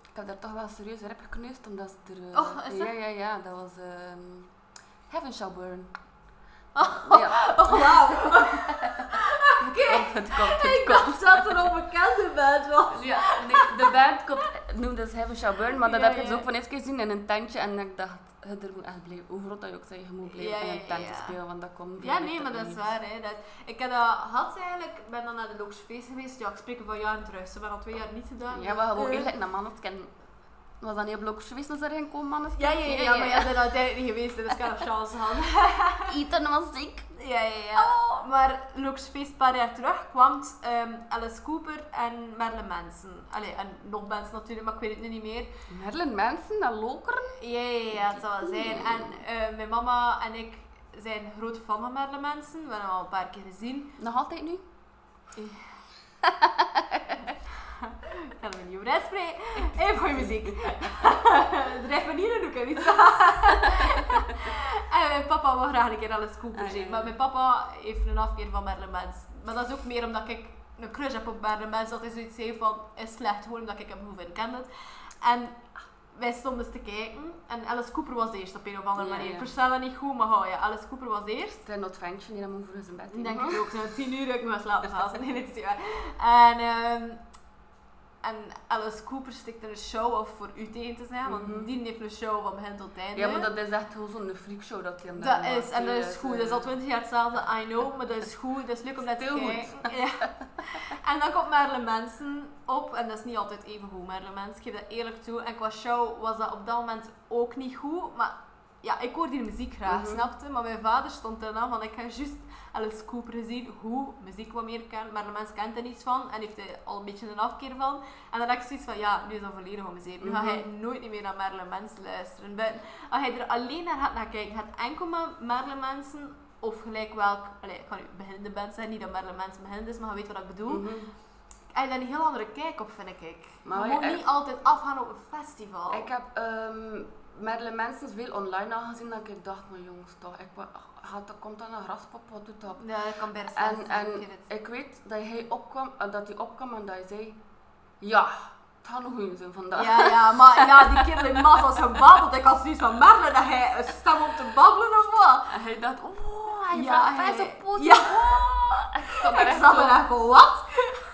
ik heb daar toch wel serieus rep gekneusd, omdat ze er... eh,
Och, is dat-
Ja, ja, ja, dat was... ehm, Heaven Shall Burn.
Oh,
Ja,
wauw. Oké.
het komt, het
Ik
komt.
dacht dat er een bekende band was.
Ja, nee, de band komt, noemde ze Heaven Shall Burn, maar dat
Ja,
heb ik
ja.
dus ook van eens gezien in een tentje. En ik dacht, je er moet echt blijven, hoe groot dat je ook zei, je moet blijven
Ja,
in
ja,
een tent
ja.
te spelen, want dat komt
Ja,
veel
nee,
beter
maar dat is
uit.
waar. Hè. Dat is- ik heb dat had eigenlijk, ik ben dan naar de Logische Feest geweest. Ja, ik spreek er van jaren terug. Ze hebben al twee jaar niet gedaan.
Ja, maar gewoon
Eh,
eerlijk naar mannetken. Was dat niet op Lokers geweest als er geen komen mannetken?
Ja, ja, ja, maar jij bent uiteindelijk niet geweest, hè, dus ik heb nog chance gehad.
Ethan was ziek.
Ja, ja, ja. Maar Logische Feest een paar jaar terug kwam ehm, Alice Cooper en Merle Manson. Allee, en nog mensen natuurlijk, maar ik weet het nu niet meer.
Merlin mensen, dat lokeren.
Ja, ja, ja, het zal wel zijn. En eh, mijn mama en ik zijn grote fan van Merle Manson. We hebben hem al een paar keer gezien.
Nog altijd nu?
Kan me niet over uitspreken. Even goede muziek. Drijf me niet in de niet. en Eh, mijn papa wil graag een keer Alice Cooper
Ah, ja,
zien.
ja.
Maar mijn papa heeft een afkeer van Marilyn Manson. Maar dat is ook meer omdat ik een crush heb op Marilyn Manson. Dat hij zoiets heeft van, is slecht gewoon omdat ik hem goed vind. Ken het? En wij stonden eens te kijken. En Alice Cooper was eerst op een of andere
Ja,
manier.
ja.
Ik versta dat niet goed, maar goh, ja, Alice Cooper was eerst.
Het is een adventje, die moet voor zijn bed
Ik
heen.
denk ik ook, na tien uur heb ik me wel slapen gehaald. Nee, dit is niet waar. En, ehm, en Alice Cooper stikt er een show af voor u tegen te zijn, want
Mhm.
die heeft een show van begin tot einde.
Ja, maar dat is echt gewoon zo'n freakshow dat hij eh. hem
Dat is, en dat is goed. Dat is al twintig jaar hetzelfde, I know, maar dat is goed. Dat is leuk om naar te
Heel goed.
kijken. Ja. En dan komt Merle Mensen op, en dat is niet altijd even goed, Merle Mensen, ik geef dat eerlijk toe. En qua show was dat op dat moment ook niet goed, maar ja, ik hoorde die muziek graag,
Mhm.
snapte? Maar mijn vader stond er dan van, ik heb juist Alice Cooper gezien, hoe muziek wat meer kent, maar de mens kent er niets van en heeft er al een beetje een afkeer van. En dan heb ik zoiets van, ja, nu is dat volledig om zeep. Nu ga
Mhm.
hij nooit meer naar Marilyn Manson luisteren. Buiten- als hij er alleen naar gaat naar kijken, gaat enkel maar Marilyn Manson of gelijk welk, allee, ik kan nu beginnende band zijn, niet dat Marilyn Manson beginnend is, maar je weet wat ik bedoel.
Mhm.
Hij heeft daar een heel andere kijk op, vind ik.
Mm. Maar
je
wij-
moet niet altijd afgaan op een festival.
Ik heb ehm Marilyn Manson veel online aangezien dat ik dacht, maar jongens toch, ik, wa- gaat, dat- komt dat een graspop, wat doet dat?
Ja, dat kan best
En-
zijn,
en-
ik weet het.
Ik weet dat hij opkwam, eh, dat hij opkwam en dat hij zei, ja, het gaat nog goed zijn vandaag.
Ja, ja, maar ja, die kerel in massa was gebabbeld. Ik had zoiets van Merle dat hij een stem op te babbelen of wat.
En hij dacht, oh, hij
Ja,
ja,
hij-
vijf op poot.
ja.
oh. Ik stond er
Ik
echt
zat
zo-
er echt van, wat?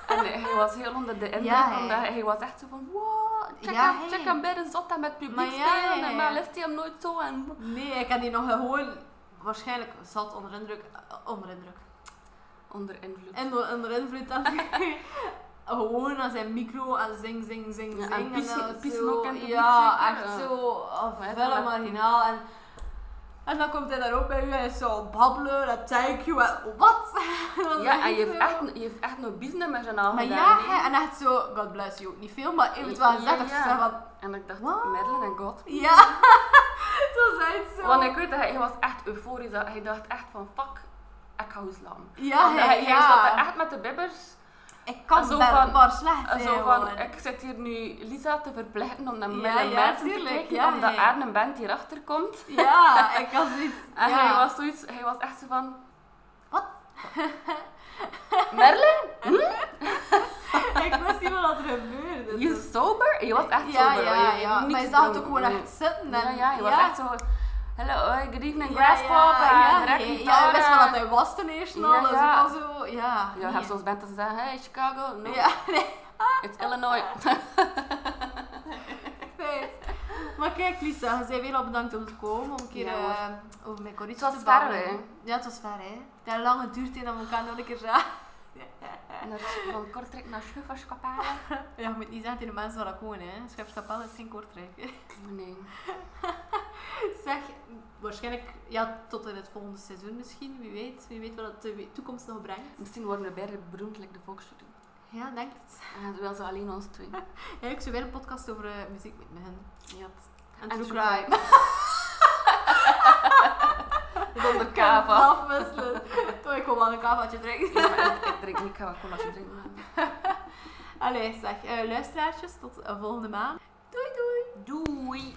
En hij- hij was heel onder de indruk,
Ja, hij-
omdat hij, hij was echt zo van, wow, check,
Ja,
hem,
hij-
check hem bij de zot en met publiek
Maar ja,
spelen.
hij-
En dan legt hij hem nooit zo. En...
Nee, ik had die nog gewoon waarschijnlijk zat onder indruk. eh, Onder indruk.
Onder invloed.
En door- onder invloed dan. Gewoon aan zijn micro en zing, zing, zing,
Ja,
zing.
en pissen-
dan
pissen
zo-
ook in het publiek
Ja,
zeker,
echt
ja.
zo. Oh,
Maar ja,
vuil en
dat-
marginaal. En, en dan komt hij daar ook bij u en hij is zo babbelen, dat thank you. En, wat? Dat is
Ja, en je
zo-
heeft echt, je heeft echt nog business met zijn naam
Maar
gedaan,
ja,
hè.
hè, en echt zo, God bless you, niet veel, maar eventueel
Ja,
gezegd, dat
ja.
ze zeggen van,
En ik dacht,
Wat?
Madeline en God.
ja, dat is echt zo.
Want ik weet dat hij, hij was echt euforisch. dat Hij dacht echt van, fuck, ik ga slaan.
ja, hè,
hij, hij
ja.
zat er echt met de bibbers.
ik kan
zo
zo van,
van-
maar slecht
En
zijn,
zo van,
gewoon.
ik zit hier nu Lisa te verplichten om naar
Ja,
Madeline
ja,
Manson te
tuurlijk,
kijken.
ja,
omdat
ja.
er een band hierachter komt.
Ja, ik kan zoiets,
En
ja.
hij, was zoiets, hij was echt zo van...
Wat?
Merle,
ik wist niet wat er gebeurde.
je
dus-
sober? Je was echt
ja,
sober. hoor.
ja,
Je-
ja,
niks
maar je zag het ook
gedronken.
gewoon echt zitten.
Ja,
En,
ja, je was echt zo... Hello, uh, good evening,
Ja,
Grasspop.
ja,
en
ja,
direct
nee,
gitaar,
ja, ik wist wel
eh.
dat hij was ten eerste
Ja,
al, dat is
ja.
ook al zo, ja.
Ja, je
nee.
hebt zoals bent dat ze zeggen, hey Chicago, no,
Ja, nee,
it's Illinois.
feit. Maar kijk Lisa, je zei weer al bedankt om te komen, om een keer
Ja,
eh,
hoor.
over mijn
Het
corrietje
was
te
ver,
babbelen.
hè.
Ja, het was ver, hè. Het had lang geduurd in dat we elkaar nog een keer zagen.
Naar- Van Kortrijk naar Schufferskapelle.
Ja, je moet niet zeggen tegen de mensen waar ik woon, hè. Schepskapel is geen Kortrijk.
Oh, Nee.
Zeg, waarschijnlijk, ja, tot in het volgende seizoen misschien, wie weet. Wie weet wat de toekomst nog brengt.
Misschien worden we beide beroemd, like de volksjury.
Ja, denk het.
En dan wel zo alleen ons twee.
Ja, ik zou weer een podcast over eh, muziek met hen.
Ja.
En
En
true
true
crime.
Zonder
Ik kan het
kava.
afwisselen. Toch, ik wil wel een kavaatje drinken.
Ja, maar ik- ik drink niet kava colaatje drinken.
Allee, zeg, eh, luisteraartjes, tot eh, volgende maand. Doei, doei.
Doei!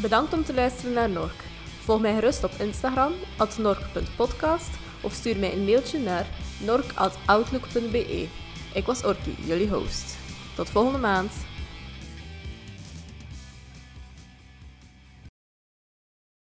Bedankt om te luisteren naar Nork. Volg mij gerust op Instagram, at nork.podcast, of stuur mij een mailtje naar nork.outlook.be. Ik was Orki, jullie host. Tot volgende maand.